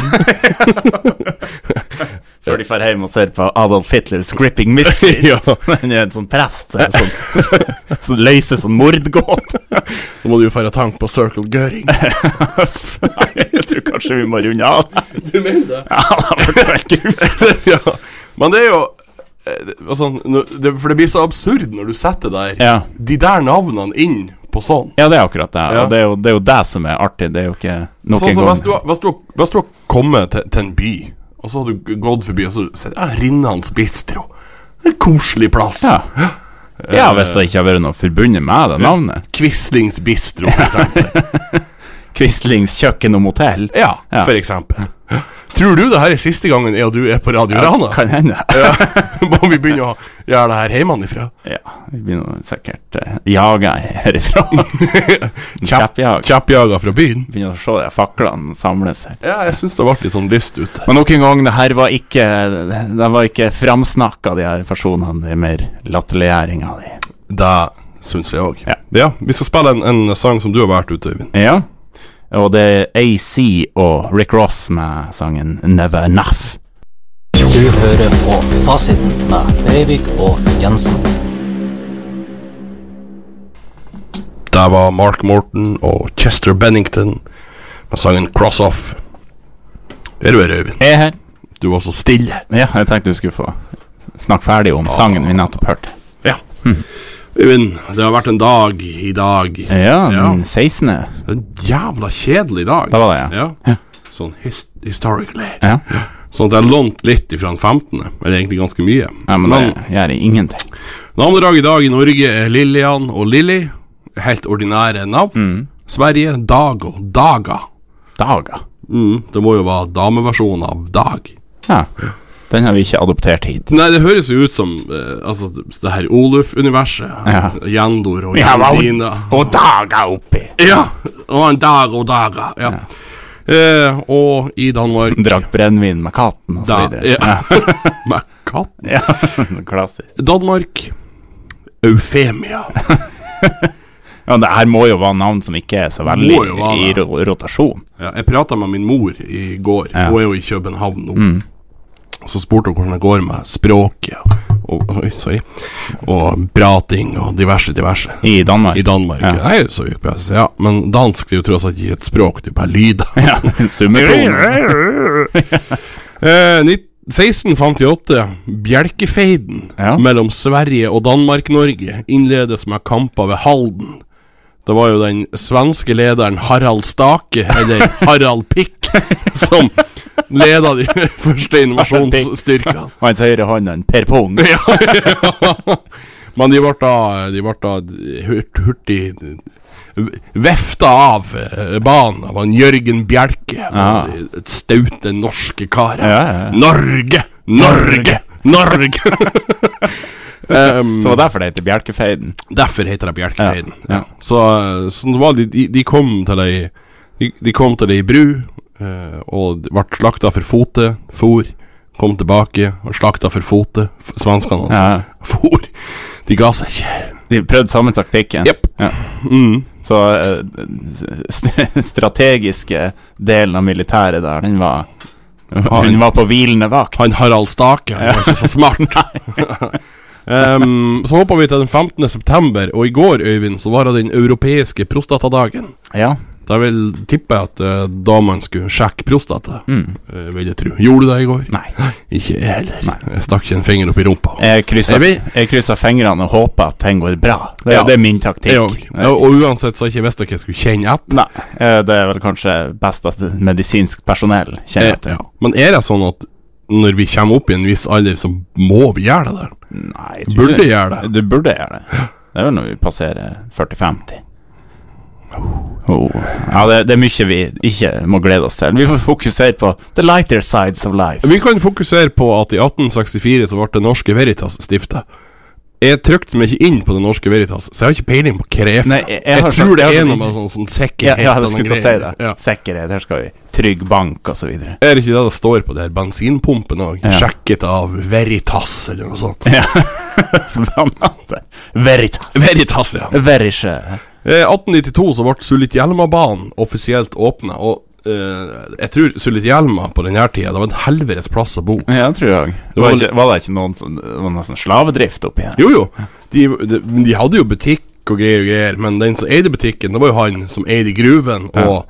Speaker 1: Før de drar hjem og ser på Adolf Hitlers 'Gripping Mysteries'.
Speaker 2: Ja.
Speaker 1: Han er en sånn prest eh, som som løser sånn mordgåte.
Speaker 2: Så må du jo dra tank på Circle Gøring.
Speaker 1: Nei, jeg tror kanskje vi må runde av.
Speaker 2: Du mener det?
Speaker 1: Ja, det ble helt grusomt.
Speaker 2: ja. Men det er jo eh, det- altså, nå- det, For det blir så absurd når du setter der
Speaker 1: Ja.
Speaker 2: de der navnene inn på sånn.
Speaker 1: Ja, det er akkurat det.
Speaker 2: Ja.
Speaker 1: Og det er, jo, det er jo det som er artig. Det er jo ikke nok
Speaker 2: Sånn
Speaker 1: en
Speaker 2: som
Speaker 1: gang
Speaker 2: hvis du, har- hvis, du, har- hvis du har kommet til, til en by, og så har du g- gått forbi, og så sier ja, Rinnans bistro. En koselig plass.
Speaker 1: Ja. ja, hvis det ikke har vært noe forbundet med det navnet.
Speaker 2: Quislings bistro, for eksempel.
Speaker 1: Quislings kjøkken og motell.
Speaker 2: ja,
Speaker 1: Ja.
Speaker 2: for eksempel. Tror du det her er siste gangen jeg og du er på Radio Rana?
Speaker 1: Kan hende.
Speaker 2: Ja, Må vi begynne å gjøre det her hjemmefra?
Speaker 1: Ja, vi begynner sikkert uh, jaga herifra. Kjappjag.
Speaker 2: Kjappjaga fra byen?
Speaker 1: Begynner å se de faklene samles her.
Speaker 2: Ja, jeg syns det ble litt sånn lyst ut.
Speaker 1: Men nok en gang, det her var ikke De var ikke framsnakka, de her personene. Det er mer latterliggjøringa di.
Speaker 2: Det syns jeg òg.
Speaker 1: Ja.
Speaker 2: vi skal spille en, en sang som du har valgt ut, Øyvind.
Speaker 1: Ja. Og det er AC og Rick Ross med sangen 'Never Enough'.
Speaker 3: Du hører på Fasiten med Breivik og Jensen.
Speaker 2: Der var Mark Morton og Chester Bennington med sangen 'Cross Off'. Er du her, Øyvind?
Speaker 1: Jeg er her.
Speaker 2: Du var så stille.
Speaker 1: Ja, jeg tenkte du skulle få snakke ferdig om sangen vi nettopp hørte.
Speaker 2: Ja. Øyvind, det har vært en dag i dag.
Speaker 1: Hm. Ja,
Speaker 2: Ja.
Speaker 1: den 16.
Speaker 2: En jævla kjedelig dag.
Speaker 1: Det var det, ja. Ja.
Speaker 2: Sånn his historically.
Speaker 1: Ja.
Speaker 2: Sånn at jeg lånte litt ifra den 15., eller egentlig ganske mye.
Speaker 1: Nei, men det gjør ingenting.
Speaker 2: Navnedag i dag i Norge er Lillian og Lilly. Helt ordinære navn.
Speaker 1: Hm.
Speaker 2: Sverige Dag og Daga.
Speaker 1: Dager.
Speaker 2: Mm, det må jo være dameversjonen av Dag.
Speaker 1: Ja. Den har vi ikke adoptert hit.
Speaker 2: Nei, det høres jo ut som eh, altså, det her Oluf-universet.
Speaker 1: Ja.
Speaker 2: Jandor og
Speaker 1: Ja, hva-
Speaker 2: Jandina.
Speaker 1: Og dager oppi!
Speaker 2: Ja! Og en Dag og Daga. Ja. Eh, og i Danmark
Speaker 1: Drakk brennevin med katten og så
Speaker 2: da,
Speaker 1: videre.
Speaker 2: ja. Med katten.
Speaker 1: Ja, så klassisk.
Speaker 2: Danmark Eufemia.
Speaker 1: Ja, det her må jo være navn som ikke er så veldig
Speaker 2: Må jo være
Speaker 1: i
Speaker 2: det.
Speaker 1: ro rotasjon.
Speaker 2: Ja, jeg prata med min mor i går.
Speaker 1: Ja. Mm.
Speaker 2: Hun er jo i København nå. Så spurte hun hvordan det går med språket og, oi, sorry, og prating og diverse, diverse.
Speaker 1: I Danmark.
Speaker 2: I Danmark.
Speaker 1: Ja.
Speaker 2: Nei, så gikk jeg, så, ja. Men dansk er jo tross alt ikke et språk, det er bare lyder.
Speaker 1: Ja, Summetone.
Speaker 2: Eh, nitt- 1658, bjelkefeiden
Speaker 1: Ja.
Speaker 2: mellom Sverige og Danmark-Norge innledes med kamper ved Halden. Det var jo den svenske lederen Harald Stake, eller Harald Pikk, som leda de første invasjonsstyrkene.
Speaker 1: Og hans høyre hånd er en Per Pung.
Speaker 2: Ja, ja. Men de ble da, de ble da hurt, hurtig vefta av eh, banen av han Jørgen Bjelke.
Speaker 1: Ja.
Speaker 2: og de Staute norske karer.
Speaker 1: Ja, ja, ja.
Speaker 2: Norge! Norge! Norge! Em,
Speaker 1: Det var derfor det heter Bjelkefeiden.
Speaker 2: derfor heter det Bjelkefeiden.
Speaker 1: Ja, ja.
Speaker 2: Så, eh, så det var, de, de- de kom til ei de, de kom til ei bru eh, og ble slakta for fote, for. Kom tilbake og slakta for fote, f- svenskene altså.
Speaker 1: Ja.
Speaker 2: For. De ga seg ikke.
Speaker 1: De prøvde samme taktikken.
Speaker 2: Jepp.
Speaker 1: Ja.
Speaker 2: Mm.
Speaker 1: Så eh, st strategiske delen av militæret der, den var Hun var på hvilende vakt.
Speaker 2: Han Harald Stake han var ikke så smart. Em, så hoppa vi til den 15. september, og i går, Øyvind, så var det den europeiske prostatadagen.
Speaker 1: Ja.
Speaker 2: Da vil tippe jeg at eh, damene skulle sjekke prostata, eh, vil jeg tro. Gjorde du det i går?
Speaker 1: Mm. Nei.
Speaker 2: Ikke jeg heller.
Speaker 1: Nei.
Speaker 2: Jeg stakk ikke en finger opp i rumpa.
Speaker 1: Jeg kryssa,
Speaker 2: Er vi-
Speaker 1: jeg kryssa fingrene og håpa at ting går bra. Det,
Speaker 2: Ja.
Speaker 1: det er min taktikk. Eh,
Speaker 2: Jeg òg. Og, og uansett så har jeg ikke visst hva jeg skulle kjenne etter.
Speaker 1: Nei, eh, det er vel kanskje best at medisinsk personell kjenner
Speaker 2: Eh,
Speaker 1: etter.
Speaker 2: ja. Men er det sånn at når vi kommer opp i en viss alder, så må vi gjøre det der?
Speaker 1: Nei, jeg tror
Speaker 2: Burde
Speaker 1: det-
Speaker 2: gjøre det.
Speaker 1: Du burde gjøre det. Det er vel når vi passerer 40-50. Oh. Ja, det, det er mye vi ikke må glede oss til. Vi får fokusere på the lighter sides of life.
Speaker 2: Vi kan fokusere på at i 1864 så ble det Norske Veritas stifta. Jeg trykte meg ikke inn på det norske Veritas, så jeg har ikke peiling på hva det er. for
Speaker 1: Nei,
Speaker 2: noe.
Speaker 1: jeg- jeg
Speaker 2: jeg
Speaker 1: har skjønt-
Speaker 2: tror det
Speaker 1: jeg har
Speaker 2: er
Speaker 1: skjønt-
Speaker 2: noe med sånn, sånn
Speaker 1: Ja,
Speaker 2: sikkerhet
Speaker 1: ja, jeg
Speaker 2: og noen
Speaker 1: skulle til å si
Speaker 2: greier.
Speaker 1: det.
Speaker 2: Ja.
Speaker 1: Sikkerhet, her skal vi. Trygg bank, osv.
Speaker 2: Er det ikke det det står på der bensinpumpen òg?
Speaker 1: Ja.
Speaker 2: Sjekket av Veritas, eller noe sånt.
Speaker 1: Ja. Som han hadde. Veritas.
Speaker 2: Veritas, ja.
Speaker 1: Verisje.
Speaker 2: Eh, 1892 så ble Sulitjelma-banen offisielt åpna, og eh, jeg tror Sulitjelma på denne tida det var en helvetes plass å bo.
Speaker 1: Ja, det tror jeg. Det
Speaker 2: var
Speaker 1: var,
Speaker 2: litt-
Speaker 1: ikke, var det ikke noen sånn, det var noe sånn slavedrift oppi her?
Speaker 2: Jo, jo, de, de, de hadde jo butikk og greier og greier, men den som eide butikken, det var jo han som eide gruven og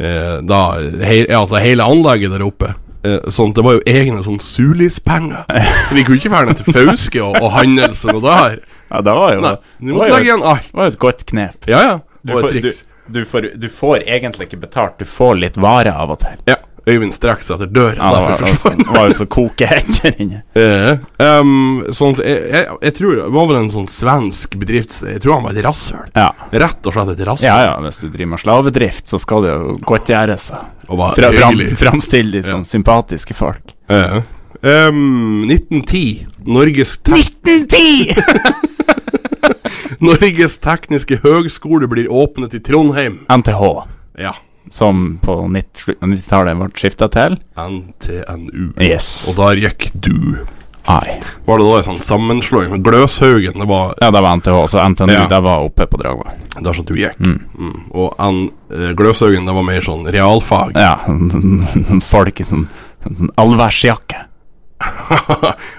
Speaker 2: eh, da hei, ja, altså hele anlegget der oppe. Eh, sånn, at Det var jo egne sånn sulispenger, så de kunne ikke være ned til Fauske og, og handle seg noe der.
Speaker 1: Ja, det var jo
Speaker 2: Nei, du
Speaker 1: det
Speaker 2: måtte
Speaker 1: var jo
Speaker 2: legge igjen
Speaker 1: et-
Speaker 2: alt.
Speaker 1: Det var jo et godt knep.
Speaker 2: Ja, ja.
Speaker 1: Du
Speaker 2: Og et
Speaker 1: får, du,
Speaker 2: triks.
Speaker 1: du, får, du får egentlig ikke betalt, du får litt vare av og til.
Speaker 2: Ja, Øyvind strakk seg etter døra.
Speaker 1: Ja, det var,
Speaker 2: derfor forsvant
Speaker 1: det var jo så kokehet der inne.
Speaker 2: Eh, ehm, sånn at jeg, jeg, jeg tror det var vel en sånn svensk bedrifts... Jeg tror han var et rasshøl.
Speaker 1: Ja.
Speaker 2: Rett og slett et rasshøl.
Speaker 1: Ja, ja, hvis du driver med slavedrift, så skal det jo godt gjøres. da.
Speaker 2: Og var
Speaker 1: Fra, fram,
Speaker 2: hyggelig.
Speaker 1: framstille de som sympatiske folk.
Speaker 2: Eh, ehm, 1910. Norges, tek
Speaker 1: 1910!
Speaker 2: Norges tekniske høgskole blir åpnet i Trondheim.
Speaker 1: NTH,
Speaker 2: Ja.
Speaker 1: som på 90 slutten av 90-tallet ble skifta til.
Speaker 2: NTNU.
Speaker 1: Yes.
Speaker 2: Og der gikk du.
Speaker 1: Ai.
Speaker 2: Var det da en sånn sammenslåing med Gløshaugen? Det var
Speaker 1: Ja, det var NTH, så NTNU
Speaker 2: Ja.
Speaker 1: det var oppe på Dragvoll.
Speaker 2: der som du gikk. Mm. Og N, eh, Gløshaugen, det var mer sånn realfag.
Speaker 1: Ja, sånn folk i sånn, sånn allværsjakke.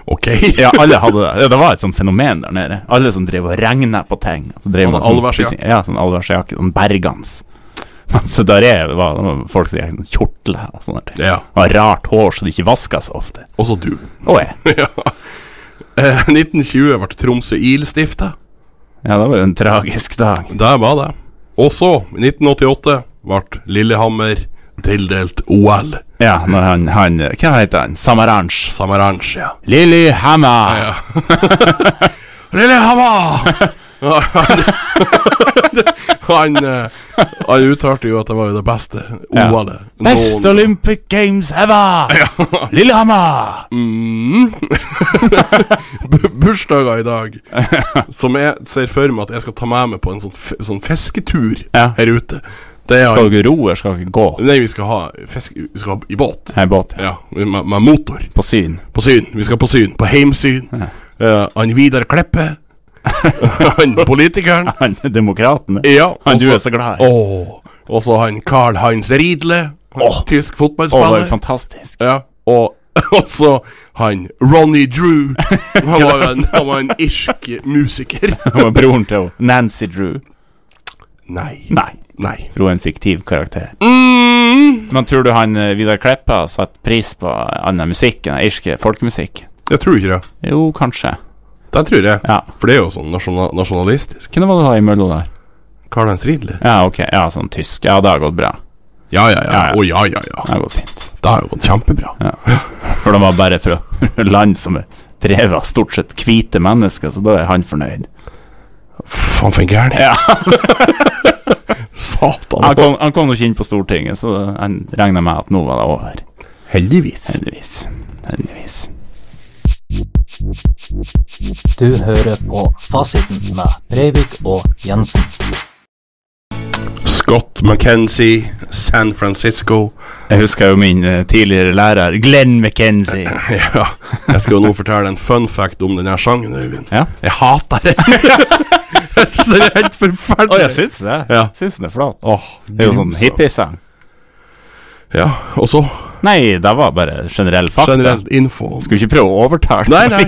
Speaker 2: ok.
Speaker 1: Ja, alle hadde det. Ja, Det var et sånt fenomen der nede. Alle som drev og regna på ting. Så drev
Speaker 2: Hadde
Speaker 1: man sånn-
Speaker 2: allværsjakke?
Speaker 1: Ja, sånn allværsjakke. Sånn bergans. Men så der er, var, det var folk som gikk sånn kjortle og sånne ting.
Speaker 2: Ja.
Speaker 1: Og rart hår, så det ikke vaska så ofte.
Speaker 2: Også du.
Speaker 1: Og jeg.
Speaker 2: ja. Eh, 1920 ble Tromsø IL stifta.
Speaker 1: Ja, det var jo en tragisk dag.
Speaker 2: Der var det. Og så, i 1988, ble Lillehammer tildelt OL.
Speaker 1: Ja, når han, han Hva heter han? Samaranch?
Speaker 2: Samaranch, ja.
Speaker 1: Lilly Hammer!
Speaker 2: Lillehammer! han, eh, han uttalte jo at det var jo det beste
Speaker 1: Ja.
Speaker 2: OL-et.
Speaker 1: Best
Speaker 2: noen-
Speaker 1: Olympic Games ever! Lillehammer!
Speaker 2: bu- bursdager i dag. Som jeg ser for meg at jeg skal ta med meg på en sånn, f sånn fisketur
Speaker 1: Ja.
Speaker 2: her ute. Det er
Speaker 1: Skal dere ro, eller skal dere gå?
Speaker 2: Nei, vi skal ha fisk Vi skal ha i båt.
Speaker 1: Her i båten.
Speaker 2: Ja, med, med motor.
Speaker 1: På Syn.
Speaker 2: På syn. Vi skal på syn. På heimsyn. Eh, han Vidar Kleppe. han politikeren.
Speaker 1: Han demokratene.
Speaker 2: Ja,
Speaker 1: Han
Speaker 2: og
Speaker 1: du er så glad i.
Speaker 2: Åh, Og så han Carl Heinz Riedle.
Speaker 1: Åh. Å, det
Speaker 2: Tysk
Speaker 1: var
Speaker 2: fotballspiller.
Speaker 1: jo fantastisk.
Speaker 2: ja, og og så han Ronny Drew. Han var en, han var en irsk musiker.
Speaker 1: Han var broren til henne. Nancy Drew.
Speaker 2: Nei.
Speaker 1: Nei,
Speaker 2: Nei.
Speaker 1: for hun er en fiktiv karakter.
Speaker 2: Mm,
Speaker 1: Men tror du han eh, Vidar Kleppa satte pris på annen musikk enn irsk folkemusikk?
Speaker 2: jeg tror ikke det.
Speaker 1: Jo, kanskje.
Speaker 2: Det tror jeg.
Speaker 1: Ja.
Speaker 2: For det er jo sånn nasjonal nasjonalistisk.
Speaker 1: Hvem var det du ha imellom der?
Speaker 2: Carl Heinz Riedle.
Speaker 1: Ja, ok. Ja, sånn tysk. Ja, det har gått bra.
Speaker 2: Ja, ja, ja.
Speaker 1: Ja, ja.
Speaker 2: Å, ja, ja, ja.
Speaker 1: Det har gått fint.
Speaker 2: Det har jo gått kjempebra.
Speaker 1: For de var bare fra land som er drevet av stort sett hvite mennesker, så da er han fornøyd.
Speaker 2: Faen for en gærning.
Speaker 1: Ja.
Speaker 2: Satan.
Speaker 1: Han kom, han kom jo ikke inn på Stortinget, så han regna med at nå var det over.
Speaker 2: Heldigvis.
Speaker 1: Heldigvis. Heldigvis.
Speaker 3: Du hører på Fasiten med Breivik og Jensen.
Speaker 2: Scott McKenzie, San Francisco.
Speaker 1: Jeg husker jo min eh, tidligere lærer, Glenn McKenzie.
Speaker 2: Ja, jeg skal jo nå fortelle en fun fact om denne sangen, Øyvind.
Speaker 1: Ja.
Speaker 2: Jeg hater den. jeg syns den er helt forferdelig.
Speaker 1: Å, jeg syns det.
Speaker 2: Ja.
Speaker 1: Syns den er flat.
Speaker 2: Åh,
Speaker 1: Det er jo sånn
Speaker 2: grusom.
Speaker 1: hippiesang.
Speaker 2: Ja, og så
Speaker 1: Nei, det var bare generell fakta.
Speaker 2: generelt info.
Speaker 1: Skulle ikke prøve å overtale
Speaker 2: Nei, nei.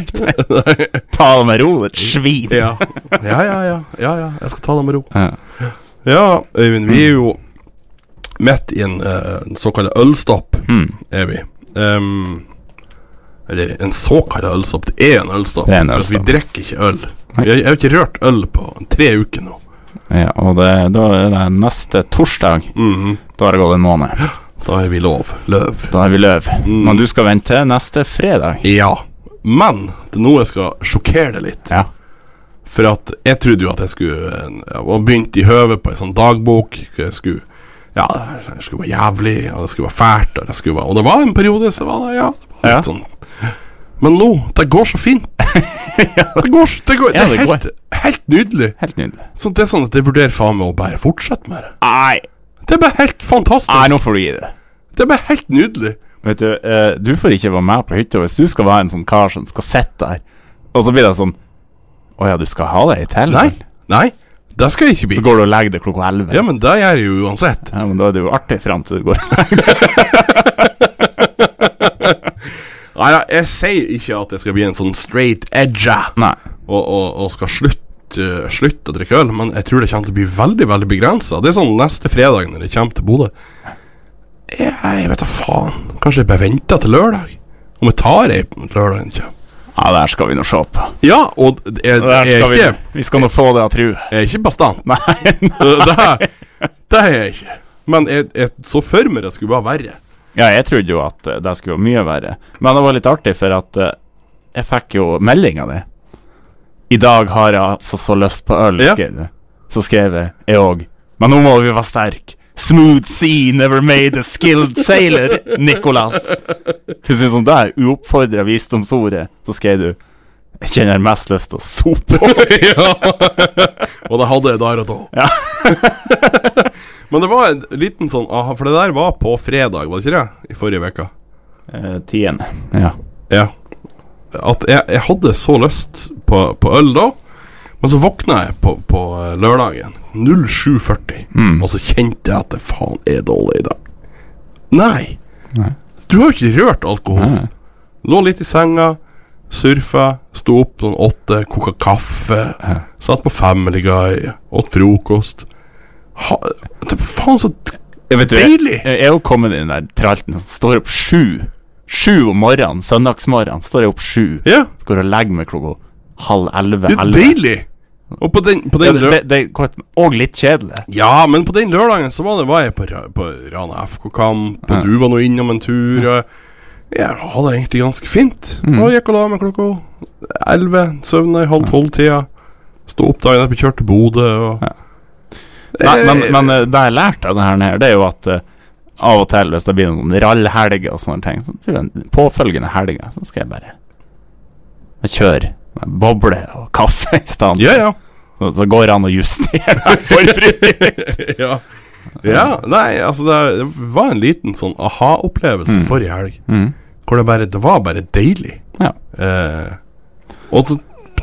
Speaker 1: Ta det med ro, et svin.
Speaker 2: ja. ja, ja, ja. Ja, ja. Jeg skal ta det med ro.
Speaker 1: Ja.
Speaker 2: Ja, Øyvind, vi er jo midt i en eh, en såkalt ølstopp,
Speaker 1: Mm.
Speaker 2: er vi. Ehm, eller en såkalt ølstopp. Det er en ølstopp.
Speaker 1: Det er en
Speaker 2: for at
Speaker 1: ølstopp.
Speaker 2: Vi drikker ikke øl. Vi har, jeg har ikke rørt øl på tre uker nå.
Speaker 1: Ja, og det, da er det neste torsdag. Da har det gått en måned.
Speaker 2: Mhm. Da er vi lov. Løv.
Speaker 1: Da er vi løv. Men du skal vente til neste fredag.
Speaker 2: Ja. Men det er nå jeg skal sjokkere deg litt.
Speaker 1: Ja.
Speaker 2: For at jeg trodde jo at jeg skulle eh, Jeg var begynt i høvet på ei sånn dagbok. hvor Jeg skulle Ja, det skulle være jævlig, og det skulle være fælt, og det skulle være Og det var en periode så var det, ja, det var litt
Speaker 1: Ja.
Speaker 2: sånn Men nå, det går så fint. Det går så, det går, det
Speaker 1: Ja,
Speaker 2: er
Speaker 1: det går.
Speaker 2: helt, helt nydelig.
Speaker 1: Helt nydelig.
Speaker 2: Så det er sånn at jeg vurderer faen meg å bare fortsette med det.
Speaker 1: Nei,
Speaker 2: Det er bare helt
Speaker 1: nei, nå
Speaker 2: fantastisk.
Speaker 1: får du gi det.
Speaker 2: Det er bare helt nydelig.
Speaker 1: Vet du, eh, du får ikke være med på hytta hvis du skal være en sånn kar som skal sitte der, og så blir det sånn Å ja, du skal ha det i telt?
Speaker 2: Nei, nei, det skal jeg ikke
Speaker 1: Så
Speaker 2: bli.
Speaker 1: går du og legger deg klokka elleve?
Speaker 2: Ja, men det gjør jeg jo uansett.
Speaker 1: Ja, men da er det jo artig fram til du går.
Speaker 2: Nei, nei, jeg sier ikke at jeg skal bli en sånn straight edger
Speaker 1: Nei.
Speaker 2: og, og, og skal slutte slutt å drikke øl, men jeg tror det kommer til å bli veldig veldig begrensa. Det er sånn neste fredag når jeg kommer til Bodø Jeg, jeg vet da faen. Kanskje jeg bare venter til lørdag? Om jeg tar ei lørdag? Ikke?
Speaker 1: Ja, det her skal vi nå se på.
Speaker 2: Ja, og d- jeg,
Speaker 1: Det her
Speaker 2: jeg,
Speaker 1: skal
Speaker 2: er
Speaker 1: vi,
Speaker 2: ikke,
Speaker 1: vi skal nå få det av tru.
Speaker 2: jeg er ikke bastant.
Speaker 1: Nei,
Speaker 2: Det, det, det er jeg ikke. Men jeg, jeg så for meg det skulle være verre.
Speaker 1: Ja, jeg trodde jo at eh, det skulle være mye verre. Men det var litt artig, for at eh, jeg fikk jo melding av det. I dag har jeg altså så lyst på øl,
Speaker 2: Ja.
Speaker 1: skrev du. Så skrev jeg, jeg òg. Men nå må vi være sterke. Smooth sea never made a skilled sailor, Nicolas. Du synes om det er uoppfordra visdomsordet, så skrev du Jeg kjenner mest lyst til å sope.
Speaker 2: ja. Og det hadde jeg der og da. Men det var en liten sånn aha, For det der var på fredag, var det ikke det? I forrige uke.
Speaker 1: Eh, Tiende. Ja.
Speaker 2: Ja. At jeg, jeg hadde så lyst på, på øl da, men så våkna jeg på, på eh, lørdagen 07.40,
Speaker 1: Mm.
Speaker 2: og så kjente jeg at det faen er dårlig i dag. Nei! Du har jo ikke rørt alkohol.
Speaker 1: Nei.
Speaker 2: Lå litt i senga, surfa, sto opp sånn åtte, koka kaffe, satt på Family Guy, åt frokost. Ha, det er faen så
Speaker 1: Jeg vet du,
Speaker 2: Deilig!
Speaker 1: Jeg, jeg er jo kommet i den der tralten som står opp sju. Sju om morgenen, søndagsmorgen, står jeg opp sju.
Speaker 2: Ja,
Speaker 1: Går og legger meg klokka halv elleve.
Speaker 2: det er
Speaker 1: elleve.
Speaker 2: deilig! Og på den, på
Speaker 1: Ja,
Speaker 2: den
Speaker 1: det,
Speaker 2: lø-
Speaker 1: det, det går et- og litt kjedelig.
Speaker 2: Ja, men på den lørdagen så var, det, var jeg på, ra- på Rana FK-kamp, og du var nå innom en tur. Og jeg hadde det egentlig ganske fint. Og gikk og la meg klokka elleve. Sovna i halv tolv-tida. Sto opp dagen etter, kjørte til Bodø. Og...
Speaker 1: Nei, men, men eh, det jeg lærte av det her, nede, det er jo at eh, av og til hvis det blir noen rallhelger og sånne ting, så tror jeg den påfølgende helga så skal jeg bare jeg kjøre med boble og kaffe i stedet.
Speaker 2: Ja, ja.
Speaker 1: Så, så går det an å justere forbruket.
Speaker 2: ja. ja. Nei, altså, det, det var en liten sånn aha-opplevelse forrige helg. Hvor det bare Det var bare deilig.
Speaker 1: Ja.
Speaker 2: Eh, og så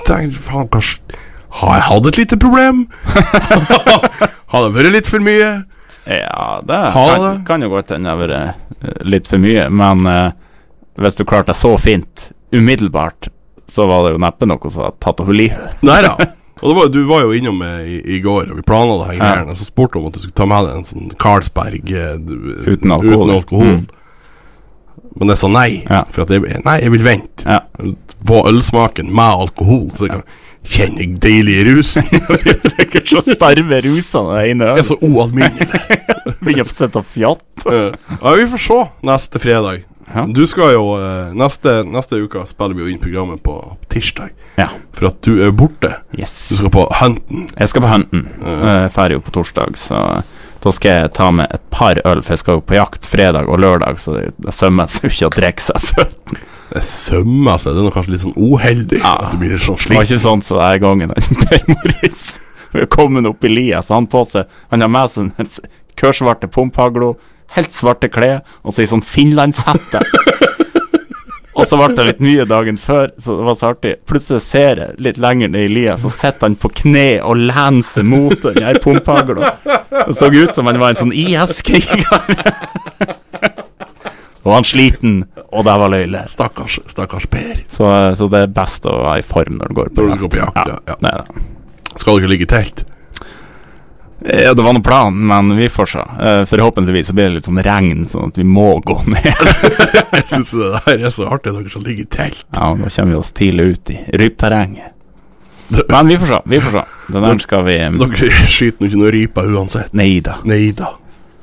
Speaker 2: tenker jeg faen, kanskje Har jeg hatt et lite problem? har det vært litt for mye?
Speaker 1: Ja, det
Speaker 2: Ha
Speaker 1: kan,
Speaker 2: det.
Speaker 1: kan jo godt hende det har vært eh, litt for mye, men eh, hvis du klarte det så fint umiddelbart, så var det jo neppe noe som hadde tatt over livet.
Speaker 2: Nei da. Og det var, du var jo innom eh, i, i går, og vi planla det her greiene. Så spurte du om at du skulle ta med deg en sånn Carlsberg eh, du-
Speaker 1: Uten alkohol.
Speaker 2: uten alkohol.
Speaker 1: Mm.
Speaker 2: Men jeg sa nei,
Speaker 1: Ja.
Speaker 2: for at jeg, nei, jeg vil vente
Speaker 1: Ja.
Speaker 2: på ølsmaken med alkohol. Så jeg kan kjenne den deilige rusen.
Speaker 1: Det er sikkert så starve rusene der inne.
Speaker 2: Det er så ualminnelig.
Speaker 1: Begynner å sitte og fjatte.
Speaker 2: Eh, ja, vi får se neste fredag.
Speaker 1: Ja.
Speaker 2: Du skal jo eh, neste, neste uke spiller vi jo inn programmet på tirsdag.
Speaker 1: Ja.
Speaker 2: For at du er borte.
Speaker 1: Yes.
Speaker 2: Du skal på Hunten.
Speaker 1: Jeg skal på Hunten. Uh, Ferdig jo på torsdag, så da skal jeg ta med et par øl, for jeg skal jo på jakt fredag og lørdag, så det, det sømmer seg jo ikke å drikke seg før.
Speaker 2: Det sømmer seg. Det er nok kanskje litt sånn uheldig
Speaker 1: Ja.
Speaker 2: at du blir sånn
Speaker 1: Det var
Speaker 2: slik.
Speaker 1: ikke sånn som den gangen han Per Morris Vi er kommet opp i lia, så han på seg Han har med seg en s- kørsvarte pumphaglo, helt svarte klær og så ei sånn finlandshette. Og så ble det litt mye dagen før, så det var så artig. Plutselig ser jeg litt lenger ned i lia, så sitter han på kne og lener seg mot den her pumphagla. Det så ut som han var en sånn IS-kriger. Og han sliten, og det var løyle.
Speaker 2: Stakkars, stakkars Per.
Speaker 1: Så, så det er best å være i form når du går på
Speaker 2: Når du går på jakt, ja, ja.
Speaker 1: Nei da.
Speaker 2: Skal du ikke ligge i telt?
Speaker 1: Ja, det var noen plan, men vi får se. Eh, forhåpentligvis så blir det litt sånn regn, sånn at vi må gå ned.
Speaker 2: Jeg syns det der er så artig, dere som ligger i telt.
Speaker 1: ja, og Da kommer vi oss tidlig ut i rypterrenget. Men vi får se. Vi får se. Den der skal vi eh,
Speaker 2: Dere skyter nå ikke noe rype uansett.
Speaker 1: Nei da.
Speaker 2: Nei da.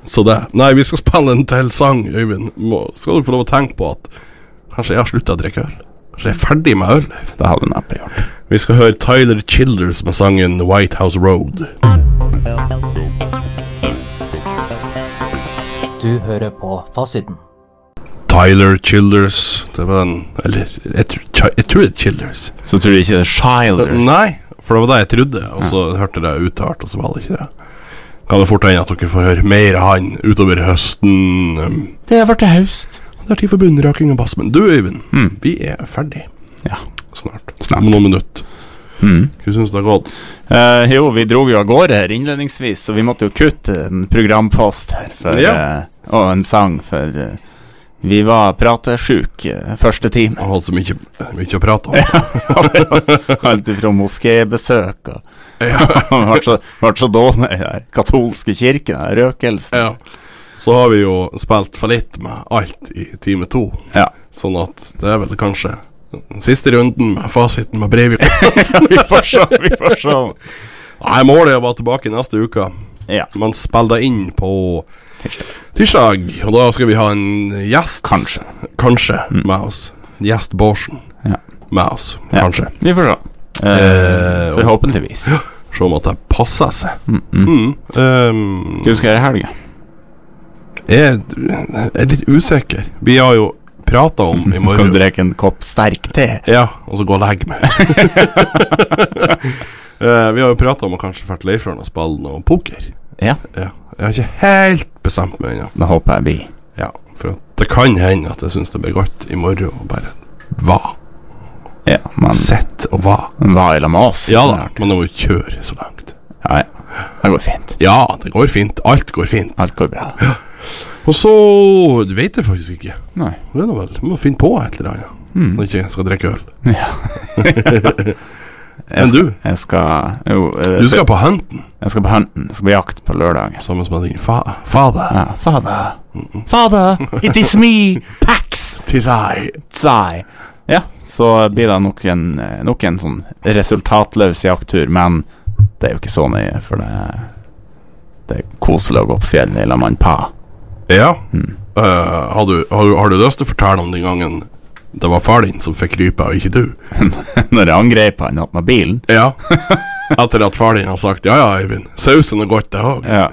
Speaker 2: Så det. Nei, vi skal spille en til sang, Øyvind. Må, skal du få lov å tenke på at kanskje jeg har slutta å drikke øl? Kanskje jeg er ferdig med øl? Øyvind?
Speaker 1: Det hadde neppe gjort.
Speaker 2: Vi skal høre Tyler Childers med sangen White House Road.
Speaker 3: Du hører på Fasiten.
Speaker 2: Tyler Childers. Det var en Eller jeg, tr- Chi- jeg tror det er Childers.
Speaker 1: Så tror du ikke det er Childers?
Speaker 2: Nei, for det var det jeg trodde, og så hørte jeg det uttalt, og så var det ikke det. Kan det fort hende at dere får høre mer av han utover høsten. Um,
Speaker 1: Det har vært høst.
Speaker 2: Det er tid for bunnraking og bass, men du Øyvind,
Speaker 1: Mm.
Speaker 2: vi er ferdig
Speaker 1: Ja.
Speaker 2: snart.
Speaker 1: Snart.
Speaker 2: Om noen minutter.
Speaker 1: Mm.
Speaker 2: Hvordan syns du det har gått?
Speaker 1: Eh, jo, vi dro jo av gårde her innledningsvis, så vi måtte jo kutte en programpost her for,
Speaker 2: Ja.
Speaker 1: eh, og en sang, for eh, vi var pratesjuke eh, første time.
Speaker 2: Jeg har hatt så mye, mye å prate om.
Speaker 1: Alt ifra moskébesøk og Ble så, vært så dårlig i den katolske kirken, den røkelsen.
Speaker 2: Ja. Så har vi jo spilt fallitt med alt i time to.
Speaker 1: Ja.
Speaker 2: Sånn at det er vel kanskje den siste runden med fasiten med Breivik.
Speaker 1: vi får se, vi får se.
Speaker 2: Nei, målet er å være tilbake neste uke.
Speaker 1: Ja.
Speaker 2: Man spiller det inn på tirsdag, og da skal vi ha en gjest.
Speaker 1: Kanskje. Mm.
Speaker 2: Kanskje med oss. Gjest Bårdsen
Speaker 1: Ja.
Speaker 2: med oss,
Speaker 1: Ja.
Speaker 2: kanskje.
Speaker 1: Vi får se. Eh,
Speaker 2: Eh,
Speaker 1: forhåpentligvis.
Speaker 2: Se om at det passer seg.
Speaker 1: Mm, mm.
Speaker 2: Mm. ehm,
Speaker 1: Hva du skal gjøre i helga?
Speaker 2: jeg er litt usikker. Vi har jo prata om i
Speaker 1: Skal du
Speaker 2: morgen
Speaker 1: drikke en kopp sterk te?
Speaker 2: Ja, og så gå og legge meg. Eh, vi har jo prata om å kanskje dra til Leifjorden og spille noe poker.
Speaker 1: Ja,
Speaker 2: Ja. Jeg har ikke helt bestemt meg ennå.
Speaker 1: da håper jeg blir.
Speaker 2: Ja, for at det kan hende at jeg syns det blir godt i morgen å bare være.
Speaker 1: Ja, men
Speaker 2: Sitte og være.
Speaker 1: hva i lag med oss?
Speaker 2: Ja da, men det må jo kjøre så langt.
Speaker 1: Ja, ja. Det går fint.
Speaker 2: Ja, det går fint. Alt går fint.
Speaker 1: Alt går bra.
Speaker 2: Og så Du vet jeg faktisk ikke.
Speaker 1: Nei.
Speaker 2: Det er nå vel Du må finne på et eller annet.
Speaker 1: Mm.
Speaker 2: Når jeg ikke skal drikke øl.
Speaker 1: Ja.
Speaker 2: Men du,
Speaker 1: Jeg skal Jo, eh,
Speaker 2: du skal på Hunten
Speaker 1: jeg skal på Hunten. Jeg skal på jakt på lørdag.
Speaker 2: sammen med din fa fader.
Speaker 1: Ja, fader. Fader, Ah, it is me, Pax!
Speaker 2: Tis I.
Speaker 1: Zai. Ja, så blir det nok en, eh, nok en sånn resultatløs jakttur, men det er jo ikke så nøye, for det, det er koselig å gå på fjellet i lag med en pa.
Speaker 2: Ja.
Speaker 1: Hmm.
Speaker 2: Eh, har, du, har, du, har du lyst til å fortelle om den gangen det var far din som fikk rype, og ikke du?
Speaker 1: Når jeg angrep han opp med bilen,
Speaker 2: Ja. Etter at far din har sagt 'ja ja, Øyvind, sausen er godt, det òg'.
Speaker 1: ja,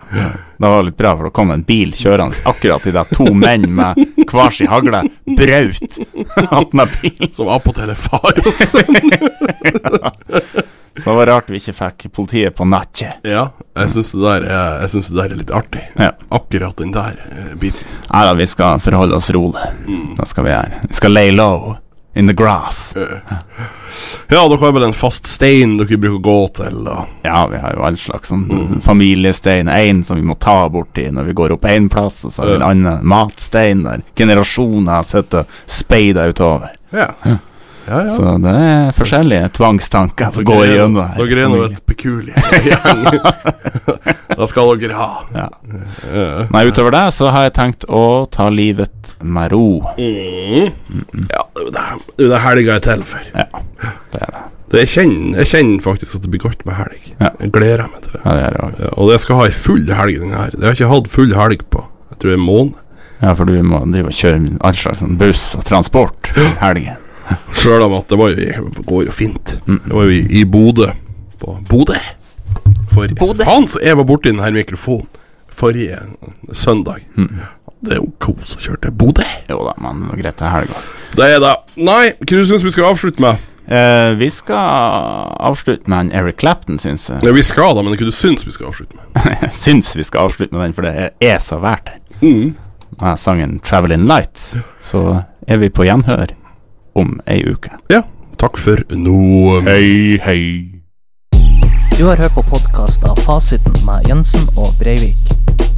Speaker 1: det var litt bra, for da kom en bil kjørende akkurat i det to menn med hver sin hagle brøt opp med bilen.
Speaker 2: Som attpåtil er far og sånn. sønn.
Speaker 1: Så det var rart vi ikke fikk politiet på nakken.
Speaker 2: ja, jeg syns det, der er- jeg synes det der er litt artig.
Speaker 1: Ja.
Speaker 2: Akkurat den der eh, biten.
Speaker 1: Nei da, vi skal forholde oss rolig.
Speaker 2: Mm.
Speaker 1: Det skal vi gjøre. Vi skal lay low in the grass.
Speaker 2: Ja, dere har vel en fast stein dere bruker å gå til, og
Speaker 1: Ja, vi har jo all slags sånn familiestein. En som vi må ta borti når vi går opp én plass, og så har vi en annen matstein der generasjoner har sittet og speida utover.
Speaker 2: Ja. Ja, ja.
Speaker 1: Så det er forskjellige tvangstanker som går igjennom her.
Speaker 2: Dere er nå et pekulig gjeng. da skal dere ha.
Speaker 1: Ja.
Speaker 2: Eh,
Speaker 1: Nei, utover det så har jeg tenkt å ta livet med ro.
Speaker 2: Mm. Ja, det er jo det- det er jo det helga er til for.
Speaker 1: Ja, det er det.
Speaker 2: Det jeg, kjenner, jeg kjenner faktisk at det blir godt med helg.
Speaker 1: Ja.
Speaker 2: Jeg gleder meg til det.
Speaker 1: Ja, det er det også.
Speaker 2: Ja, og jeg skal ha ei full helg, den her. Jeg har ikke hatt full helg på jeg tror en måned.
Speaker 1: ja, for du må drive og kjøre all slags sånn buss og transport i helgen.
Speaker 2: Sjøl om at det var jo, det går jo fint. Det var jo i, i Bodø. På Bodø! For faen, så jeg var borti den her mikrofonen forrige søndag. Det er jo kos å kjøre til Bodø.
Speaker 1: Jo da, men det er greit, det er helga.
Speaker 2: Det er det. Nei, hva du syns vi skal avslutte med?
Speaker 1: Eh, vi skal avslutte med en Eric Clapton, syns jeg.
Speaker 2: Ja, vi skal da, men hva du syns vi skal avslutte med?
Speaker 1: Jeg syns vi skal avslutte med den, for det er så verdt det.
Speaker 2: Mm.
Speaker 1: Med sangen 'Travelin' Lights. Så er vi på gjenhør om ei uke.
Speaker 2: Ja. Takk for nå. eh,
Speaker 1: Hei, hei.
Speaker 3: Du har hørt på podkast av Fasiten med Jensen og Breivik.